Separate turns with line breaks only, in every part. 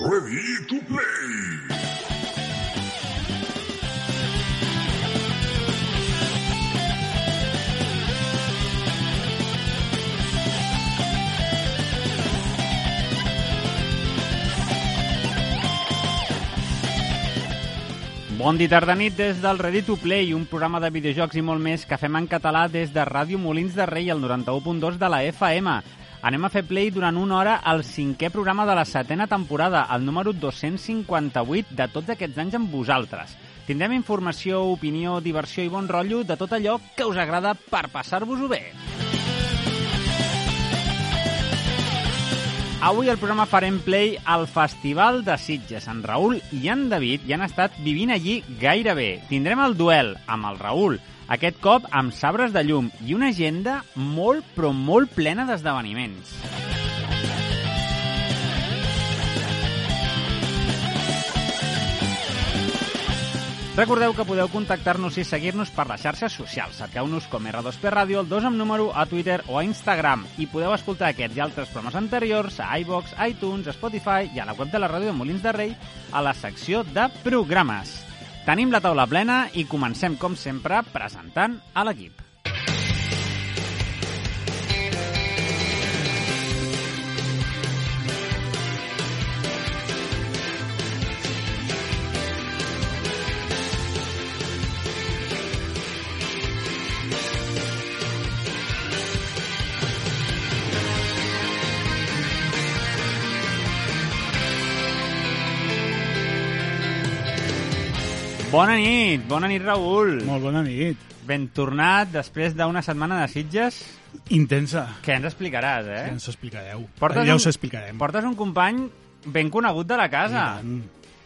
Ready to play.
Bon dia, tarda, nit des del Ready to Play, un programa de videojocs i molt més que fem en català des de Ràdio Molins de Rei, al 91.2 de la FM. Anem a fer play durant una hora al cinquè programa de la setena temporada, el número 258 de tots aquests anys amb vosaltres. Tindrem informació, opinió, diversió i bon rotllo de tot allò que us agrada per passar-vos-ho bé. Avui al programa farem play al Festival de Sitges. En Raül i en David hi han estat vivint allí gairebé. Tindrem el duel amb el Raül, aquest cop amb sabres de llum i una agenda molt però molt plena d'esdeveniments. Recordeu que podeu contactar-nos i seguir-nos per les xarxes socials. Cerqueu-nos com R2P Ràdio, el 2 amb número, a Twitter o a Instagram. I podeu escoltar aquests i altres programes anteriors a iVox, iTunes, Spotify i a la web de la ràdio de Molins de Rei a la secció de programes. Tenim la taula plena i comencem, com sempre, presentant a l'equip. Bona nit, bona nit, Raül.
Molt bona nit.
Ben tornat després d'una setmana de Sitges.
Intensa.
Què ens explicaràs, eh?
Ja ens ho explicareu.
Portes
ja
un-
us explicarem. Mm.
Portes un company ben conegut de la casa.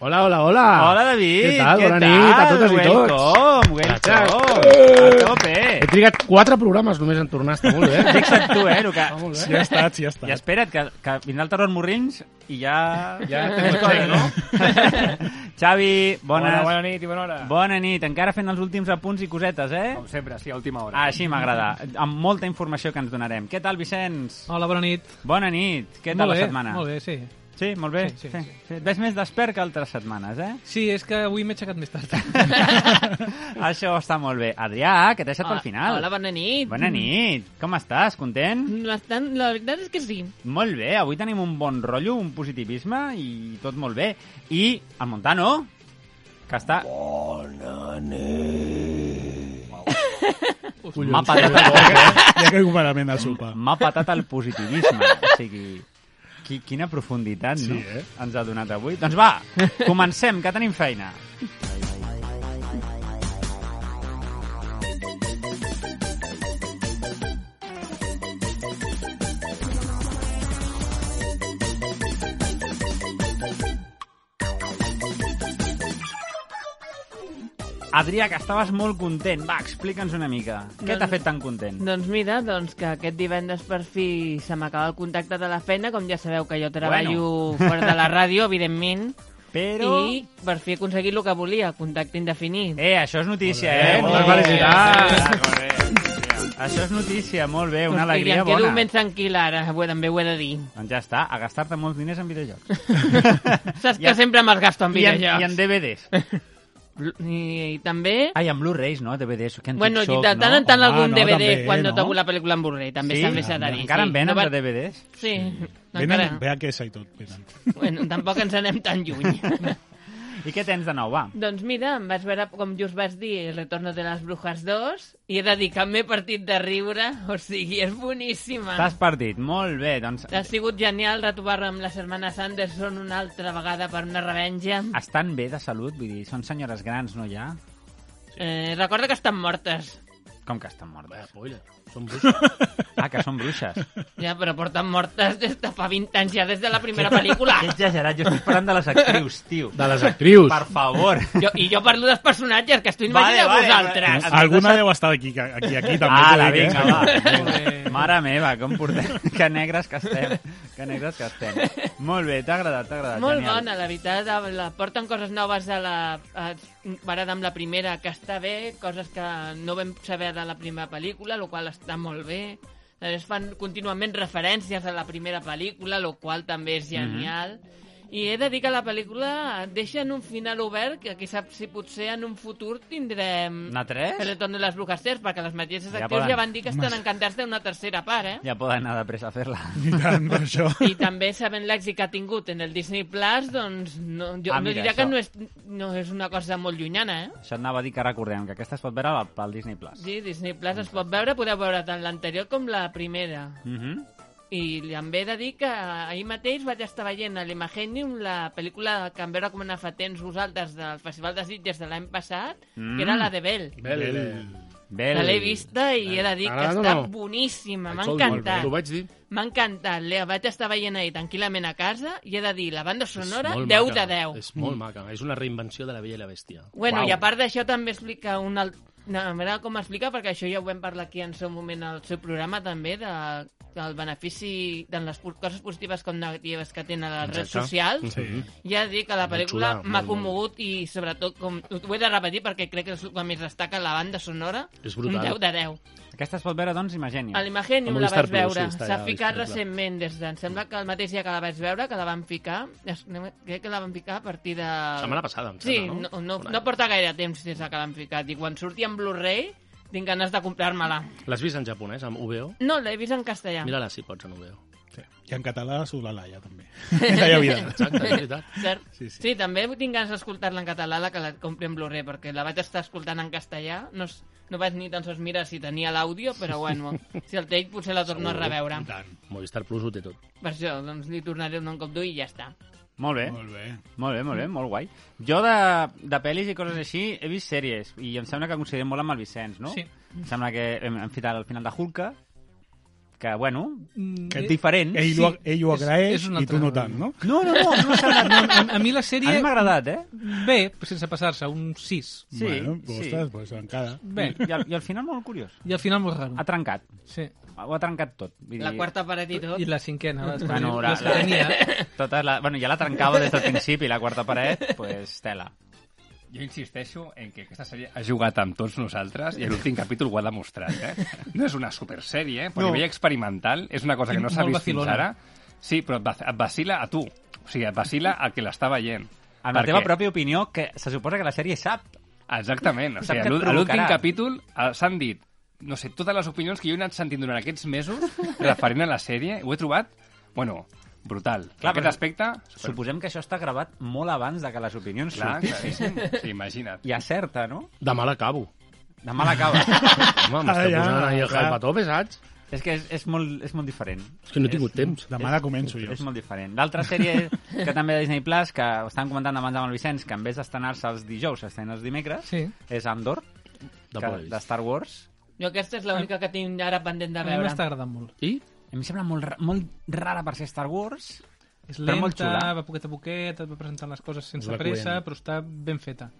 Hola, hola, hola.
Hola, David.
Ah, Què tal?
Què
Bona
tal?
nit a totes i tots.
Welcome, welcome. A
He
tope.
trigat quatre programes només en tornar, està molt bé.
Fixa't tu, eh, el que...
Està molt
Sí,
bé.
ha estat, sí, ha estat.
I espera't, que, que vindrà el Terror Morrins i ja...
Ja
Més
ho
coses,
tenc,
no? Xavi, bones...
Bona, bona nit i bona hora.
Bona nit, encara fent els últims apunts i cosetes, eh?
Com sempre, sí, a última
Ah,
hora.
Així m'agrada, amb molta informació que ens donarem. Què tal, Vicenç?
Hola, bona nit.
Bona nit, què tal
molt
la
bé,
setmana?
Molt bé, sí.
Sí, molt bé.
Sí, sí, sí.
Et veig més despert que altres setmanes, eh?
Sí, és que avui m'he aixecat més tard.
Això està molt bé. Adrià, que t'he deixat al final.
Ah, Hola, bona nit. Mm,
Bona nit, com estàs? Content?
Bastant, la veritat és que sí.
Molt bé, avui tenim un bon rotllo, un positivisme i tot molt bé. I el Montano, que està...
Collons.
M'ha patat,
Ja,
el,
ja que comparament al sopar.
m'ha patat el positivisme. O sigui, qui, quina profunditat
Sí,
no?
eh?
ens ha donat avui. Doncs va, comencem, que tenim feina. Adrià, que estaves molt content. Va, explica'ns una mica. Què t'ha
Doncs-
fet tan content?
Doncs mira, doncs que aquest divendres per fi se m'acaba el contacte de la feina, com ja sabeu que jo treballo bueno. fora de la ràdio, evidentment,
Però...
Però... i per fi he aconseguit el que volia, contacte indefinit.
Eh, això és notícia,
Molt bé,
eh?
molt
Moltes
bé.
felicitats! Això és notícia, molt bé, una
I
alegria
em quedo
bona.
ben tranquil ara, eh, ho, també ho he de dir.
Doncs ja està, a gastar-te molts diners en videojocs.
Saps
I
que
en-
sempre me'ls gasto
I en,
en videojocs.
I en DVDs.
I, I també...
Ai, amb Blu-rays, no? DVDs, que antic
Bueno, i
soc,
de tant en tant
Home,
algun
no,
DVD
també,
quan
no?
no trobo la pel·lícula en Blu-ray, també
Sí?
també s'ha de dir.
Encara
sí.
en venen,
No va-
de DVDs?
Sí,
Venen,
encara.
ve a quesa i tot. Venen.
Bueno, tampoc ens anem tan lluny.
I què tens de nou, va?
Doncs mira, em vas veure, com just vas dir, el retorno de les brujas 2 i he dedicat m'he partit de riure, o sigui, és boníssima.
T'has partit, molt bé, doncs...
Ha sigut genial retrobar-me amb les germanes Anderson una altra vegada per una revenja.
Estan bé de salut, vull dir, són senyores grans, no ja?
Eh, recorda que estan mortes.
Com que estan mortes?
Polla, Som bruixos.
Ah, que són bruixes.
Ja, però porten mortes des de fa 20 anys ja, des de la primera pel·lícula.
Que exagerat, jo estic parlant de les actrius, tio.
De les actrius.
Doncs, Per favor.
Jo, I jo parlo dels personatges, que estic
Vale,
imaginant
vale,
vosaltres.
vale.
Alguna deu estar aquí, que- aquí, aquí també.
Ara,
t'ho dic, eh?
vinga, va. Mare meva, com portem... Que negres que estem. Que negres que estem. Molt bé, t'ha agradat, t'ha agradat. Ah,
Molt
genial.
bona, la veritat. Ah, La, porten coses noves de la... eh, Comparada amb la primera, que està bé, coses que no vam saber de la primera pel·lícula, el qual està molt bé.
Mhm.
Es fan contínuament referències a la primera pel·lícula, el qual també és genial. I he de dir que la pel·lícula deixa en un final obert que qui sap si potser en un futur tindrem...
Una tres?
El retorn de les blockbusters, perquè les mateixes
Ja
actrius
poden.
ja van dir que estan encantats d'una tercera part, eh?
Ja poden anar de pressa a fer-la.
I tant, per això.
I també sabent l'èxit que ha tingut en el Disney Plus, doncs no, jo
Ah,
no
mira,
diria que
això.
no és, no és una cosa molt llunyana, eh?
Això anava a dir que recordem, que aquesta es pot veure pel- pel Disney Plus.
Sí, Disney Plus es pot veure, podeu veure tant l'anterior com la primera.
Mhm.
I li em ve de dir que ahir mateix vaig estar veient a l'Imagenium la pel·lícula que em veu recomanar fa temps vosaltres del Festival de Sitges de l'any passat,
Mm.
que era la de Bell.
Bel.
Bé,
La l'he vista i he de dir que
T'agrada o
està
no?
boníssima, m'ha
Això ho diu molt bé.
encantat.
T'ho vaig dir.
M'ha encantat, la vaig estar veient ahir tranquil·lament a casa i he de dir, la banda sonora,
És molt
10
maca,
de 10.
És molt maca. És una reinvenció de la Bella i la Bèstia.
Bueno,
Uau.
i a part d'això també explica un alt... No, m'agrada com explica, perquè això ja ho vam parlar aquí en seu moment al seu programa també, de, del benefici de les po- coses positives com negatives que tenen les redes
Exacte.
socials.
Sí.
Ja dic que la pel·lícula
xula,
m'ha
molt,
commogut i sobretot, com, ho he de repetir perquè crec que és el que més destaca la banda sonora,
És
un
brutal. Mm.
10 de 10.
Aquesta es pot veure, doncs, Imagenia.
A l'Imagenium
Amb
la
Movistar
vaig
Plus,
veure.
sí, està
S'ha
allà,
ficat
disponible.
recentment, des de... Em sembla que el mateix dia que la vaig veure, que la van ficar... es- Crec que la van ficar a partir de...
Setmana passada, em
Sí,
sembla, no?
no, no,
Por ahí.
no porta gaire temps des de que l'han ficat. I quan surti en Blu-ray, tinc ganes de comprar-me-la.
L'has vist en japonès, amb UBO?
No, l'he vist en castellà.
Mira-la si pots en UBO.
sí. I en català, Solalaia, també. Ja hi havia.
Exacte, és veritat.
Cert?
Sí, sí.
sí, també tinc ganes d'escoltar-la en català, la que la compri en Blu-ray, perquè la vaig estar escoltant en castellà. No, s- no vaig ni tan sols mirar si tenia l'àudio, però bueno, si el té, potser la torno a reveure.
I tant.
Movistar Plus ho té tot.
Per això, doncs li tornaré un cop d'ull i ja està.
Molt bé.
Molt bé.
Molt bé, molt bé, molt guai. Jo de, de pel·lis i coses així he vist sèries i em sembla que coincidim molt amb el Vicenç, no?
Sí.
Em sembla que hem, hem fet al final de Hulka, que, bueno,
Mm,
que és diferent.
Ell, ho, ell ho
és-
agraeix
és una
i tu
altra-
no tant, no?
No, no, no, no m'ha semblat.
A, a mi la
A mi
sèrie...
m'ha agradat, eh?
Bé, sense passar-se, un 6.
Sí,
bueno,
sí.
ostres, pues, encara.
Bé,
I, al, I al final molt curiós.
i al final molt raro.
Ha trencat,
Sí.
ho ha trencat tot. Vull
La quarta paret i tot.
I la cinquena, les,
Bueno, la,
les que tenia.
la, tota la, bueno, ja la trencava des del principi, la quarta paret, pues tela.
Jo insisteixo en que aquesta sèrie ha jugat amb tots nosaltres i l'últim capítol ho ha demostrat. Eh? No és una supersèrie, eh? però no. nivell experimental és una cosa que no s'ha
Molt
vist fins
vacilona.
ara. Sí, però et va- et vacila a tu. O sigui, et vacila al que l'està veient.
Amb la
Perquè-
teva pròpia opinió, que se suposa que la sèrie sap.
Exactament. O
Sap
sigui,
que et
a l'ú- a l'últim
provocarà.
capítol eh, s'han dit no sé, totes les opinions que jo he anat sentint durant aquests mesos referent a la sèrie, ho he trobat, bueno, brutal.
Clar,
Clar, aquest
però-
aspecte...
Suposem que això està gravat molt abans de que les opinions
Clar,
surtin.
claríssim. Sí, imagina't.
I acerta, no?
Demà l'acabo.
Demà l'acaba.
Home, m'està
Ah, ja,
posant ahí el
clar.
jalpató, pesats.
és que és, és, molt, és molt diferent.
És que no he tingut temps.
Demà la començo jo.
És molt diferent. L'altra sèrie que també de Disney Plus, que ho estàvem comentant abans amb el Vicenç, que en vez d'estrenar-se els dijous, s'estrena els dimecres,
Sí.
és Andor,
De
que,
Boys.
de Star Wars.
Jo aquesta és l'única que tinc ara pendent de
A mi
veure.
m'està agradant molt.
I?
A mi em sembla molt, ra- molt rara per ser Star Wars.
És
Però
lenta,
molt xula.
va poquet a poquet, et va presentant les coses sense
Va
pressa,
coent.
però està ben feta.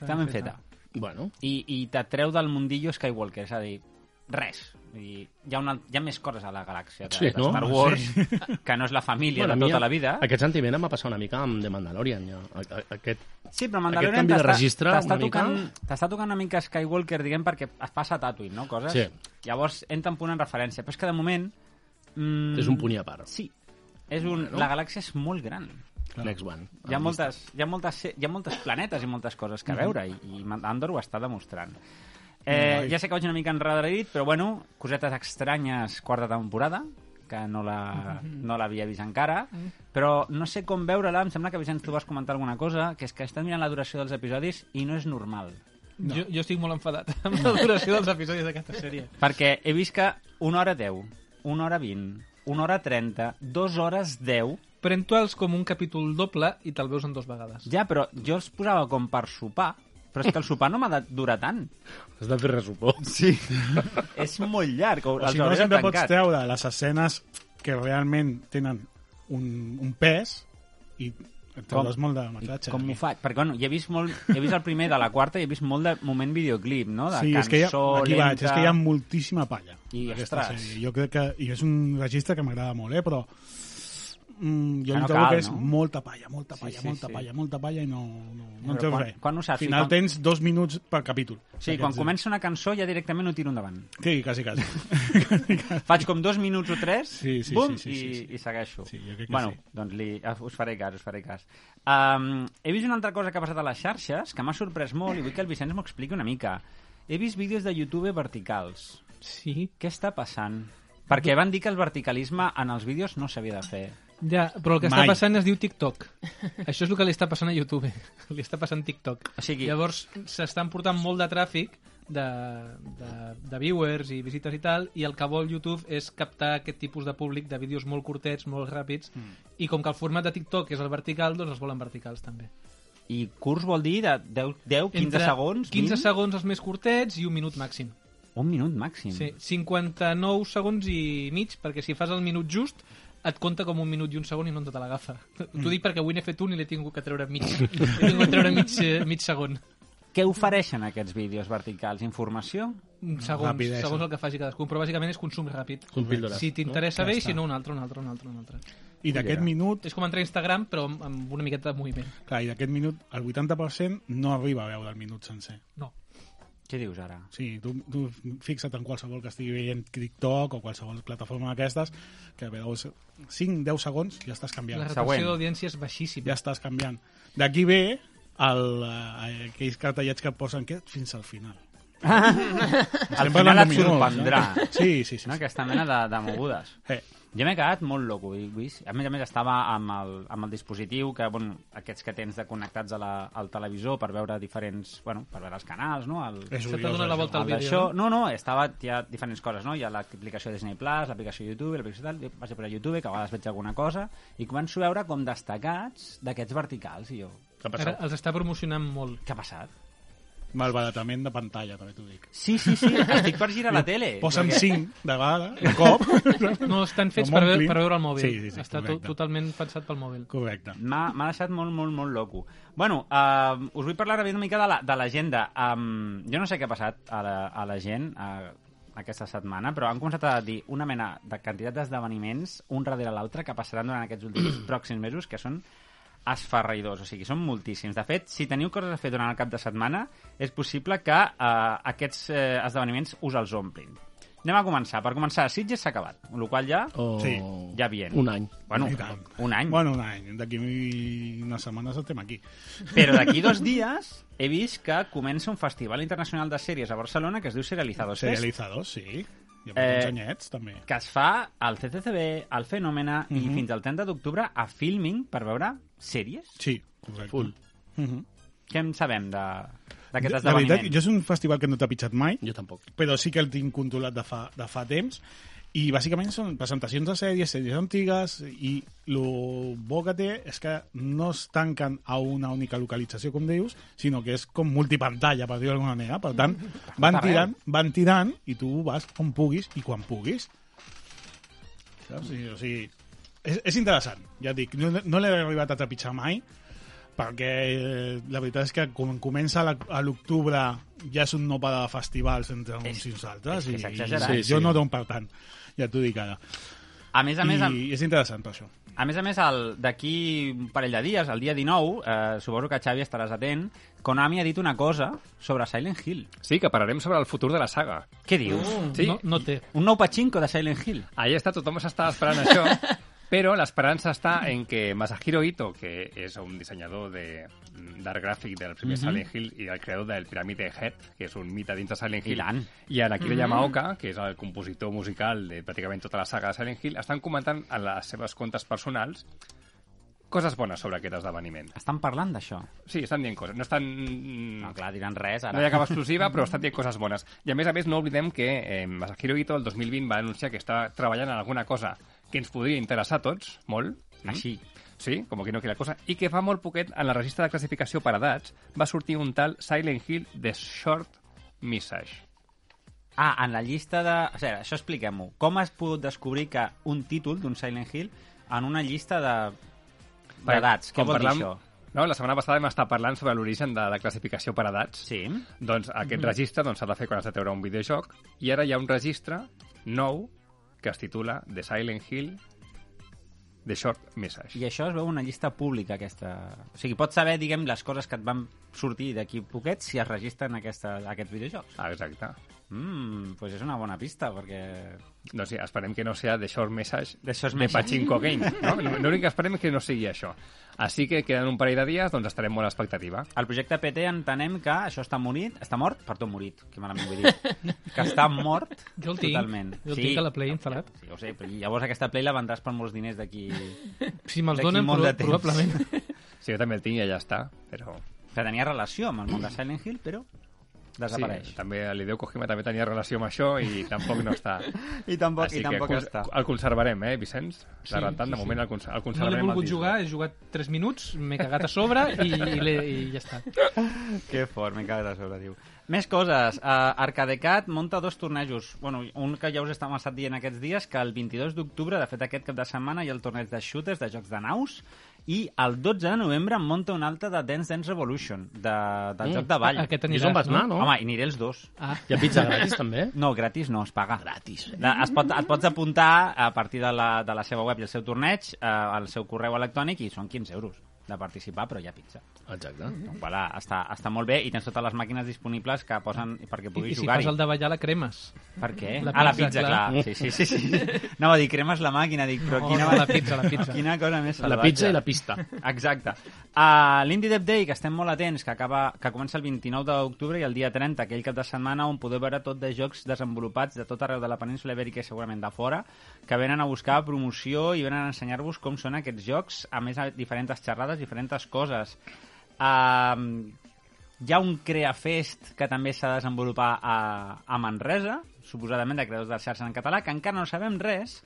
Està ben feta.
Bueno,
I, i t'atreu del mundillo Skywalker, és a dir, res. Vull dir, hi, ha una, hi ha més coses a la galàxia de,
Sí,
de
no?
Star Wars, que no és la família
Bueno, a
de
mi
tota
ja-
la vida.
Aquest sentiment em va passar una mica amb The Mandalorian, ja. A- a- Aquest...
Sí, però
Aquest
Mandalorian
canvi de
t'està-
registre
t'està
una
tocant,
mica.
t'està tocant una mica Skywalker, diguem, perquè es passa a Tatooine, no? Coses.
Sí.
Llavors entra un punt en referència, però és que de moment... Mm,
És un puny a part.
Sí. És un, la galàxia és molt gran.
Next one.
Hi ha, moltes, hi, ha moltes, se- hi ha moltes planetes i moltes coses que veure, i, i Andor ho està demostrant. Eh, ja sé que vaig una mica enrederit, però bueno, cosetes estranyes, quarta temporada, que no la- no l'havia vist encara, però no sé com veure-la, em sembla que Vicenç tu vas comentar alguna cosa, que és que estàs mirant la duració dels episodis i no és normal.
No. Jo, jo estic molt enfadat amb la duració dels episodis d'aquesta sèrie.
Perquè he vist que una hora 10, una hora 20, una hora 30, dues hores 10...
Pren tu els com un capítol doble i te'l veus en dues vegades.
Ja, però jo els posava com per sopar, però és que el sopar no m'ha de durar tant.
Has de fer resuport.
Sí. és molt llarg. O,
O si
els
no,
hauré de
sempre pots
tancar.
treure les escenes que realment tenen un, un pes i et treuràs molt de metratge.
Com ho faig? Perquè, bueno, ja he vist, molt, he vist el primer de la quarta i he vist molt de moment videoclip, no? De
sí,
cançó,
és que hi ha, aquí
lenta...
vaig, és que hi ha moltíssima palla.
I,
en aquesta
ostres.
sèrie. Jo crec que... I és un registre que m'agrada molt, eh? Però mm, jo
Que
el
no
que
cal,
cal, és
no?
molta palla, molta palla,
sí,
molta
sí.
palla, molta palla i no, no,
Però
no en treus
quan-
res.
quan ho saps?
Al final
Quan-
tens dos minuts per capítol.
O sigui, quan comença una cançó ja directament ho tiro endavant.
Sí, quasi, quasi. quasi, quasi.
Faig com dos minuts o tres,
Sí, sí,
bum,
sí, sí, sí, sí.
I, i segueixo.
Sí, jo crec que
bueno,
sí.
doncs li, ah, us faré cas, us faré cas. Um, he vist una altra cosa que ha passat a les xarxes que m'ha sorprès molt i vull que el Vicenç m'ho expliqui una mica. He vist vídeos de YouTube verticals.
Sí.
Què està passant? Perquè van dir que el verticalisme en els vídeos no s'havia de fer.
Ja, però el que
Mai.
està passant es diu TikTok. Això és el que li està passant a YouTube. Li està passant TikTok.
O sigui-
Llavors s'estan portant molt de tràfic de, de, de viewers i visites i tal, i el que vol YouTube és captar aquest tipus de públic de vídeos molt curtets, molt ràpids, mm. i com que el format de TikTok és el vertical, doncs els volen verticals també.
I curs vol dir de 10, 10 15
Entre
segons,
15
20?
segons els més curtets i un minut màxim.
Un minut màxim.
Sí, 59 segons i mig, perquè si fas el minut just et compta com un minut i un segon i no te te l'agafa.
Mm.
T'ho dic perquè avui n'he fet un i l'he tingut que treure mig. He tingut que treure mig, eh, mig segon.
Què ofereixen aquests vídeos verticals? Informació?
Mm,
Segons,
Rapidesa.
segons el que faci cadascú. Però bàsicament és consum ràpid.
Són píldores.
Si t'interessa
Ja
bé i
està.
si no un altre, un altre, un altre, un altre.
I d'aquest minut,
És com entrar a Instagram però amb- amb una miqueta de moviment.
clar, i d'aquest minut, el 80% no arriba a veure el minut sencer.
No.
Què dius ara?
Sí, tu, tu fixa't en qualsevol que estigui veient TikTok o qualsevol plataforma d'aquestes, que veus 5-10 segons ja estàs
La
canviant.
següent.
retenció d'audiència és baixíssima.
Ja estàs canviant. D'aquí ve el, eh, aquells cartellets que et posen que fins al final.
Al
Estem
final
parlant
et
de minuts,
sorprendrà.
eh? Sí, sí, sí.
No,
sí.
aquesta mena de, de mogudes.
Eh,
Jo m'he quedat molt loco, i- Lluís. A més a més, estava amb el, amb el dispositiu, que, bueno, aquests que tens de connectats a la, al televisor per veure diferents... Bueno, per veure els canals, no? El,
és
Se t'ha
odiós,
donat la
això.
volta al
el
vídeo.
d'això- No, no, estava, hi ha diferents coses, no? Hi ha l'aplicació Disney Plus, l'aplicació YouTube, l'aplicació tal, jo vaig a posar YouTube, que a vegades veig alguna cosa, i començo a veure com destacats d'aquests verticals, i jo,
Què ha
Ara
passat?
els està promocionant molt.
què ha passat?
Malbaratament de pantalla, també t'ho dic.
Sí, sí, sí, estic per girar la tele.
Posen
perquè-
5 de vegada, de cop.
No, estan fets
Però
per,
molt
ve
clean.
per veure el mòbil.
Sí, sí, sí,
està to
correcte.
totalment pensat pel mòbil.
Correcte.
M'ha m'ha deixat molt, molt, molt loco. Bueno, eh, us vull parlar ara una mica de la- de l'agenda. La, um, jo no sé què ha passat a la, a la gent eh, aquesta setmana, però han començat a dir una mena de quantitat d'esdeveniments un darrere l'altre que passaran durant aquests últims pròxims mesos, que són esferraïdors, o sigui, són moltíssims. De fet, si teniu coses a fer durant el cap de setmana, és possible que eh, aquests eh, esdeveniments us els omplin. Anem a començar. Per començar, Sitges s'ha acabat, amb la qual cosa ja...
O...
Sí.
Ja eh? bien.
Un any.
Bueno,
Oh, I tant.
un any.
Bueno, un any. D'aquí unes setmanes estem aquí.
Però d'aquí dos dies he vist que comença un festival internacional de sèries a Barcelona que es diu Serializados Fest,
Serialitzadors, sí. I amb
Eh,
eh... anyets, també.
que es fa al CCCB, al Fenòmena
Mhm.
i fins al 30 d'octubre a Filming per veure sèries.
Sí, correcte.
Full.
Mm.
Uh -huh.
Què en sabem de- d'aquest
La veritat,
esdeveniment?
jo és un festival que no t'ha pitjat mai,
Jo tampoc.
però sí que el tinc controlat de fa, de fa temps, i bàsicament són presentacions de sèries, sèries antigues, i el bo que té és que no es tanquen a una única localització, com dius, sinó que és com multipantalla, per dir-ho d'alguna manera. Per tant, van
Mm-hmm. arreu.
tirant, van tirant, i tu vas on puguis i quan puguis. Saps? I, o sigui, és, és interessant, ja et dic. No, no l'he arribat a trepitjar mai, perquè eh, la veritat és que quan comença la- a l'octubre ja és un no parar de festivals entre uns i uns altres.
és que
i-
s'exagera,
i
eh? Sí,
Jo
sí.
no dono per tant, ja t'ho dic ara.
A més a més, amb-
I és interessant per això.
A més a més, el- d'aquí un parell de dies, el dia 19, eh, suposo que Xavi estaràs atent, Konami ha dit una cosa sobre Silent Hill.
Sí, que parlarem sobre el futur de la saga.
Què dius?
Mm.
Uh.
Sí,
No, no té.
Un nou pachinko de Silent Hill.
Ahí está, tothom s'estava esperant això, però l'esperança està en que Masahiro Ito, que és un dissenyador de mm, d'art gràfic del primer Silent Hill i el creador del Pyramide Head, que és un mite dins de Silent Hill,
I tant.
i en Akira Yamaoka, que és el compositor musical de pràcticament tota la saga de Silent Hill, estan comentant a les seves comptes personals coses bones sobre aquest esdeveniment.
Estan parlant d'això.
Sí, estan mm, dient coses. No estan...
No, Ah, clar, diran res ara.
Mm. No hi ha cap exclusiva, però estan dient coses bones. I a més a més, no oblidem que eh, Masahiro Ito el 2020 va anunciar que està treballant en alguna cosa que ens podria interessar a tots, molt.
Així.
Sí, com que no queda cosa. I que fa molt poquet, en la registra de classificació per edats, va sortir un tal Silent Hill The Short Message.
Ah, en la llista de... O sigui, això expliquem-ho. Com has pogut descobrir que un títol d'un Silent Hill en una llista de... d'edats? Què
Com
vol
parlàvem-
dir això?
No, la setmana passada vam estar parlant sobre l'origen de la classificació per edats.
Sí.
Doncs aquest registre doncs, s'ha de fer quan has de treure un videojoc i ara hi ha un registre nou que es titula The Silent Hill The Short Message.
I això es veu una llista pública, aquesta... O sigui, pots saber, diguem, les coses que et van sortir d'aquí poquet si es registren aquesta, aquests videojocs.
Ah, exacte.
Mmm, doncs és una bona pista, perquè...
No sé, Doncs esperem que no sea The Short Message
The Short
de
Message.
Pachinko Games. No? L'únic que esperem és que no sigui això. Així que queden un parell de dies, doncs estarem molt a l'expectativa.
El projecte PT entenem que això està morit, està mort, perdó, morit, que malament ho he dit, que està mort
Jo el tinc.
totalment.
Jo el tinc a la Play instal·lat.
Sí, ho sé, però llavors aquesta Play la vendràs per molts diners d'aquí...
Si me'ls
d'aquí
donen,
molt de temps.
pro probablement.
Si jo també el tinc i ja està, però...
Que tenia relació amb el món de Silent Hill, però desapareix.
Sí, també l'Ideo Kojima també tenia relació amb això i tampoc no està.
I tampoc,
Així
i tampoc
que cons-
està.
el conservarem, eh, Vicenç? Sí, de rentant, de
sí,
moment el, cons el
No l'he
conservarem. al
volgut
disc.
jugar, he jugat 3 minuts, m'he cagat a sobre i, i, l'he- i ja està.
Que fort, m'he cagat a sobre, diu. Més coses. Uh, Arcadecat munta dos tornejos. Bueno, un que ja us estàvem estat dient aquests dies, que el 22 d'octubre, de fet aquest cap de setmana, hi ha el torneig de shooters de jocs de naus, i el 12 de novembre munta un altre de Dance Dance Revolution, de, del joc de ball.
Aquest
I
aniràs,
on vas anar, no?
Home, i aniré els dos.
Ah,
Hi ha pizza gratis, també?
No, gratis no, es paga.
Gratis.
La- Es pot, et pots apuntar a partir de la, de la seva web i el seu torneig, eh, al seu correu electrònic, i són 15 euros de participar, però hi ha pizza.
Exacte.
Doncs, voilà, està, està molt bé i tens totes les màquines disponibles que posen perquè
i,
puguis
i si
jugar-hi.
fas el davallar la cremes.
Per què?
la
ah, la
pizza,
pizza, clar.
clar.
Sí, sí, sí, sí. No, va dir, cremes la màquina, dic, però
No,
quina...
la pizza, la pizza.
Quina cosa més
La
salvatge.
pizza i la pista.
Exacte. A l'Indie Dev Day, que estem molt atents, que, acaba, que comença el 29 d'octubre i el dia 30, aquell cap de setmana on podeu veure tot de jocs desenvolupats de tot arreu de la península ibèrica i segurament de fora, que venen a buscar promoció i venen a ensenyar-vos com són aquests jocs, a més a diferents xerrades, diferents coses. Um, hi ha un CreaFest que també s'ha de desenvolupar a, a Manresa, suposadament de creadors de xarxa en català, que encara no sabem res.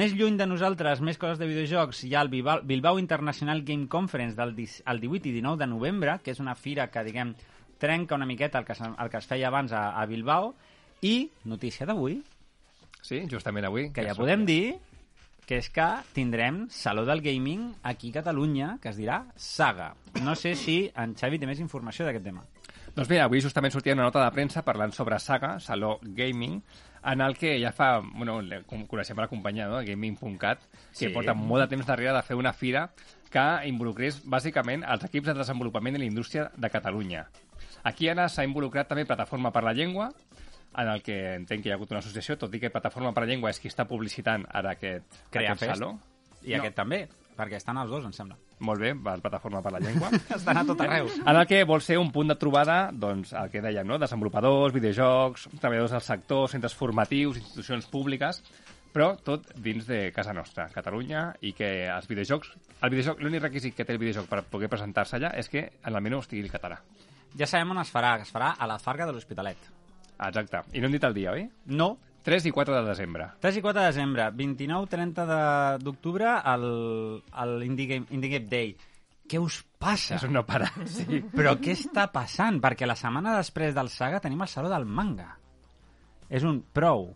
Més lluny de nosaltres, més coses de videojocs, hi ha el Bilbao, Bilbao International Game Conference del dis- el 18 i 19 de novembre, que és una fira que, diguem, trenca una miqueta el que, se- el que es feia abans a, a Bilbao. I, notícia d'avui,
Sí, justament avui.
que ja podem dir que és que tindrem Saló del Gaming aquí a Catalunya, que es dirà Saga. No sé si en Xavi té més informació d'aquest tema.
Doncs mira, avui justament sortia una nota de premsa parlant sobre Saga, Saló Gaming, en el que ja fa, bueno, le- com coneixem la companyia, no? Gaming.cat,
Sí.
que porta molt de temps darrere de fer una fira que involucrés bàsicament els equips de desenvolupament de la indústria de Catalunya. Aquí ara s'ha involucrat també Plataforma per la Llengua, en el que entenc que hi ha hagut una associació, tot i que Plataforma per la Llengua és qui està publicitant ara aquest, aquest
Creafest.
saló.
I no. aquest també, perquè estan els dos, em sembla.
Molt bé, va, Plataforma per la Llengua.
Estan a tot arreu.
En el que vol ser un punt de trobada, doncs, el que dèiem, no? desenvolupadors, videojocs, treballadors del sector, centres formatius, institucions públiques, però tot dins de casa nostra, Catalunya, i que els videojocs... El videojoc, l'únic requisit que té el videojoc per poder presentar-se allà és que en el menú estigui el català.
Ja sabem on es farà, que es farà a la Farga de l'Hospitalet.
Exacte. I no hem dit el dia, oi?
No,
3 i 4 de desembre.
3 i 4 de desembre, 29-30 de- d'octubre, al- al Indie Game, Indie Game Day. Què us passa?
Això no para. Sí.
Però què està passant? Perquè la setmana després del Saga tenim el Saló del Manga. És un prou.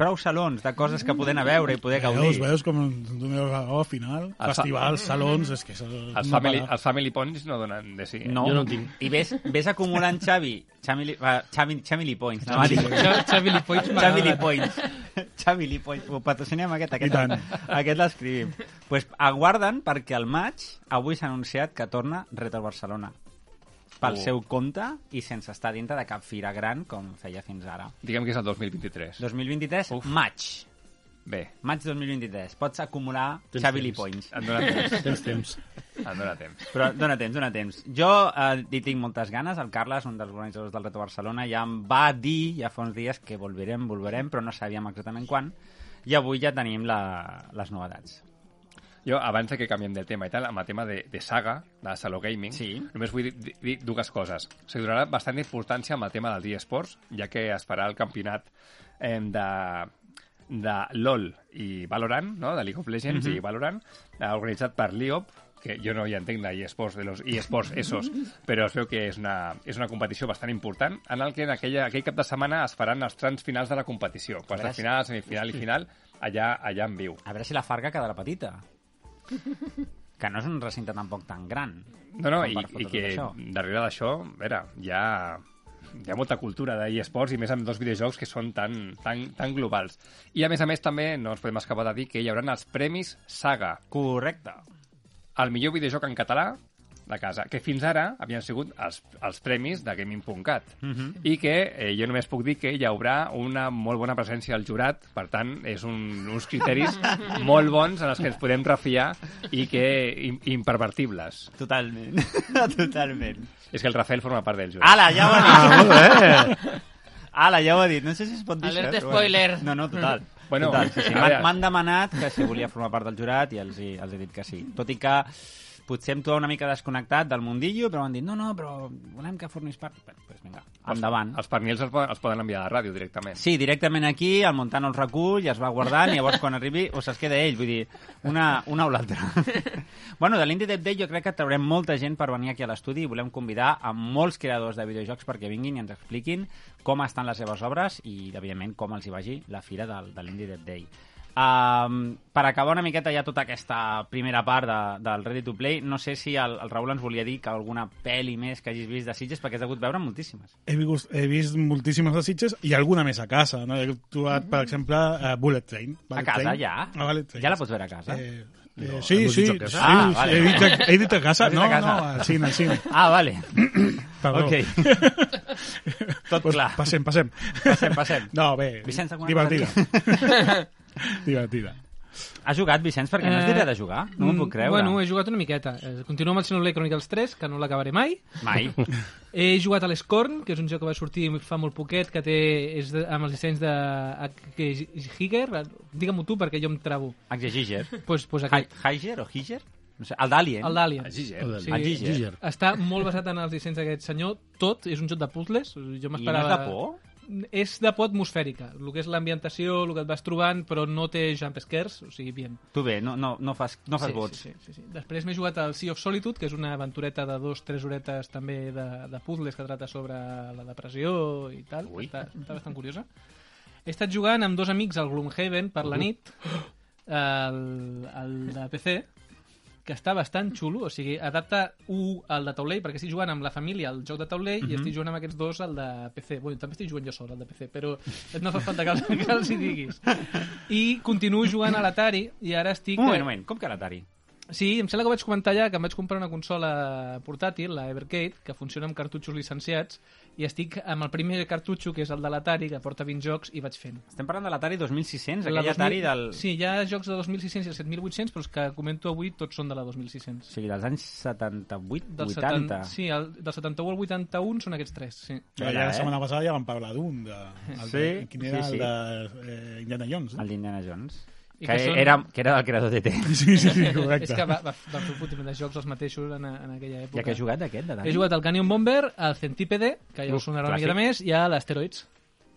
Prou salons de coses que poden a veure i poder
Veus,
gaudir.
veus com doneu la raó al final?
fa-
Festivals, salons, és que... Això,
Els
no
family,
para.
els family points no donen de sí. eh?
No.
Jo no en tinc.
I ves, ves acumulant Xavi, Xavi, Li- va, Xavi, Xavi Lee Points. No,
Xa- Xavi Lipoix
Xavi Lee
m'agrada.
Points. Xavi Lee Points. Ho patrocinem aquest, aquest,
I tant.
aquest l'escrivim. pues aguarden perquè al maig avui s'ha anunciat que torna Retro Barcelona pel
Oh.
seu compte i sense estar dintre de cap fira gran com feia fins ara.
Diguem que és el 2023.
2023,
Uf.
maig.
Bé,
Maig 2023. Pots acumular
Tens
Xavi
temps.
Lee Points.
en dóna temps.
Tens temps.
En dóna temps.
Però dona temps, dona temps. Jo eh, hi tinc moltes ganes. El Carles, un dels organitzadors del Reto Barcelona, ja em va dir ja fa uns dies que volverem, volverem, però no sabíem exactament quan. I avui ja tenim la, les novetats.
Jo, abans de que canviem de tema i tal, amb el tema de, de saga, de Saló Gaming,
Sí.
només vull dir, dir- dir dues coses. O sigui, donarà bastant importància amb el tema dels eSports, ja que es farà el campionat eh, de, de LOL i Valorant, no? de League of Legends
Mhm.
i Valorant, eh, organitzat per l'IOP, que jo no hi entenc de eSports, de los eSports esos, però es veu que és una, és una competició bastant important, en el que en aquella, aquell cap de setmana es faran els trans finals de la competició, quarts de
Veràs.
final, semifinal i final, allà, allà en viu.
A veure si la Farga quedarà petita. Que no és un recinte tampoc tan gran.
No, no,
com
i,
per fotre
i
tot
que
això.
darrere d'això, a veure, hi ha hi ha molta cultura d'eSports i més amb dos videojocs que són tan, tan, tan globals. I a més a més també no ens podem escapar de dir que hi haurà els Premis Saga,
Correcte.
el millor videojoc en català de casa, que fins ara havien sigut els, els premis de Gaming.cat
Mhm.
i que eh, jo només puc dir que hi haurà una molt bona presència al jurat, per tant, és un, uns criteris molt bons en els que ens podem refiar i que im- impervertibles.
Totalment. Totalment. Ah,
És que el Rafael forma part del jurat.
Ala, ja ho ha dit. Ala, ja ho ha dit. No sé si es pot dir
Alerta
això, però bueno.
spoiler.
No, no, total.
Mm-hmm. Bueno,
total, sí, sí.
a
M'han
veure.
m'han demanat que si volia formar part del jurat i els, hi- els he dit que sí. Tot i que potser em trobo una mica desconnectat del mundillo, però m'han dit, no, no, però volem que formis part. Bé, doncs vinga, endavant.
Els pernils els, po- els poden enviar a la ràdio directament.
Sí, directament aquí, el Montano els recull, es va guardant, i llavors quan arribi o se'ls queda ell, vull dir, una, una o l'altra. bueno, de l'Indie Dev Day jo crec que traurem molta gent per venir aquí a l'estudi i volem convidar a molts creadors de videojocs perquè vinguin i ens expliquin com estan les seves obres i, evidentment, com els hi vagi la fira del, de l'Indie Dev Day. Um, per acabar una miqueta ja tota aquesta primera part de, del Ready to Play, no sé si el, el Raül ens volia dir que alguna pel·li més que hagis vist de Sitges, perquè has hagut veure moltíssimes.
He vist, he vist moltíssimes de Sitges i alguna més a casa. No? He trobat, per exemple, a Bullet Train.
Mm. A
Bullet
casa,
Train.
ja?
A Bullet Train.
Ja la pots veure a casa?
Eh, eh,
No,
sí,
hemos
sí,
dicho
sí,
que
sí,
sí.
Ah, vale.
he, dit a, he dit a casa,
Has dit
no,
a casa.
no, al cine, al cine.
Ah, vale.
Perdó.
Ok. Tot
Pues
clar.
Passem, passem.
Passem, passem.
No, bé,
Vicenç, alguna
divertida. divertida.
Has jugat, Vicenç? Perquè no has dit res de jugar. No m'ho puc creure.
Eh, Mm, Bueno, he jugat una miqueta. Eh, Continuo amb el Xenoblade Chronicles 3, que no l'acabaré mai.
Mai.
He jugat a l'Scorn, que és un joc que va sortir fa molt poquet, que té, és de, amb els dissenys de H- Higer. Digue-m'ho tu, perquè jo em trabo.
Hagger.
Pues, pues aquest,
Hagger o Higer? No sé, el eh? d'Alien.
el d'Alien.
eh?
Giger.
Sí.
El Giger.
Giger.
Està molt basat en els dissenys d'aquest senyor. Tot és un joc de puzzles. Jo
I no és
m'esperava...
de por?
És de por atmosfèrica. El que és l'ambientació, el que et vas trobant, però no té jump scares, o sigui, bien.
Tu bé, no, no, no fas, no fas
sí,
vots.
Sí, sí, sí, sí. Després m'he jugat al Sea of Solitude, que és una aventureta de dos, tres horetes també de, de puzzles que trata sobre la depressió i tal.
Ui.
Està, està bastant curiosa. He estat jugant amb dos amics al Gloomhaven per la nit, el, el de PC, que està bastant xulo, o sigui, adapta un al de taulell, perquè estic jugant amb la família al joc de taulell i estic jugant amb aquests dos al de PC. Bueno, també estic jugant jo sol al de PC, però no fa falta que els, que els hi diguis. I continuo jugant a l'Atari i ara estic...
Un moment, un moment. Com que l'Atari?
Sí, em sembla que ho vaig comentar ja, que em vaig comprar una consola portàtil, la Evercade, que funciona amb cartutxos licenciats, i estic amb el primer cartutxo, que és el de l'Atari, que porta 20 jocs, i vaig fent.
Estem parlant de l'Atari 2600,
La
aquell
2000
Atari del...
Sí, hi ha jocs de 2.600 i el 7.800, però els que comento avui tots són de la 2.600.
O sigui, dels anys 78,
Del
80.
seten- Sí, el, del 71 al 81 són aquests tres, sí.
Ja,
Era,
la
eh?
setmana passada ja vam parlar d'un, de, el
Sí,
de, quin era
sí, sí.
el de eh, Indiana Jones.
El d'Indiana Jones.
I
Que,
que són-
era, que era del creador de T.
Sí, sí, sí,
És que
correcte.
va, va, va fer un putiment de jocs els mateixos en, en aquella època.
Ja que has jugat d'aquest, d'Atari?
He jugat al Canyon Bomber, al Centípede, que ja
Uf,
us sonarà una
clàssic.
miqueta més, i a l'Asteroids.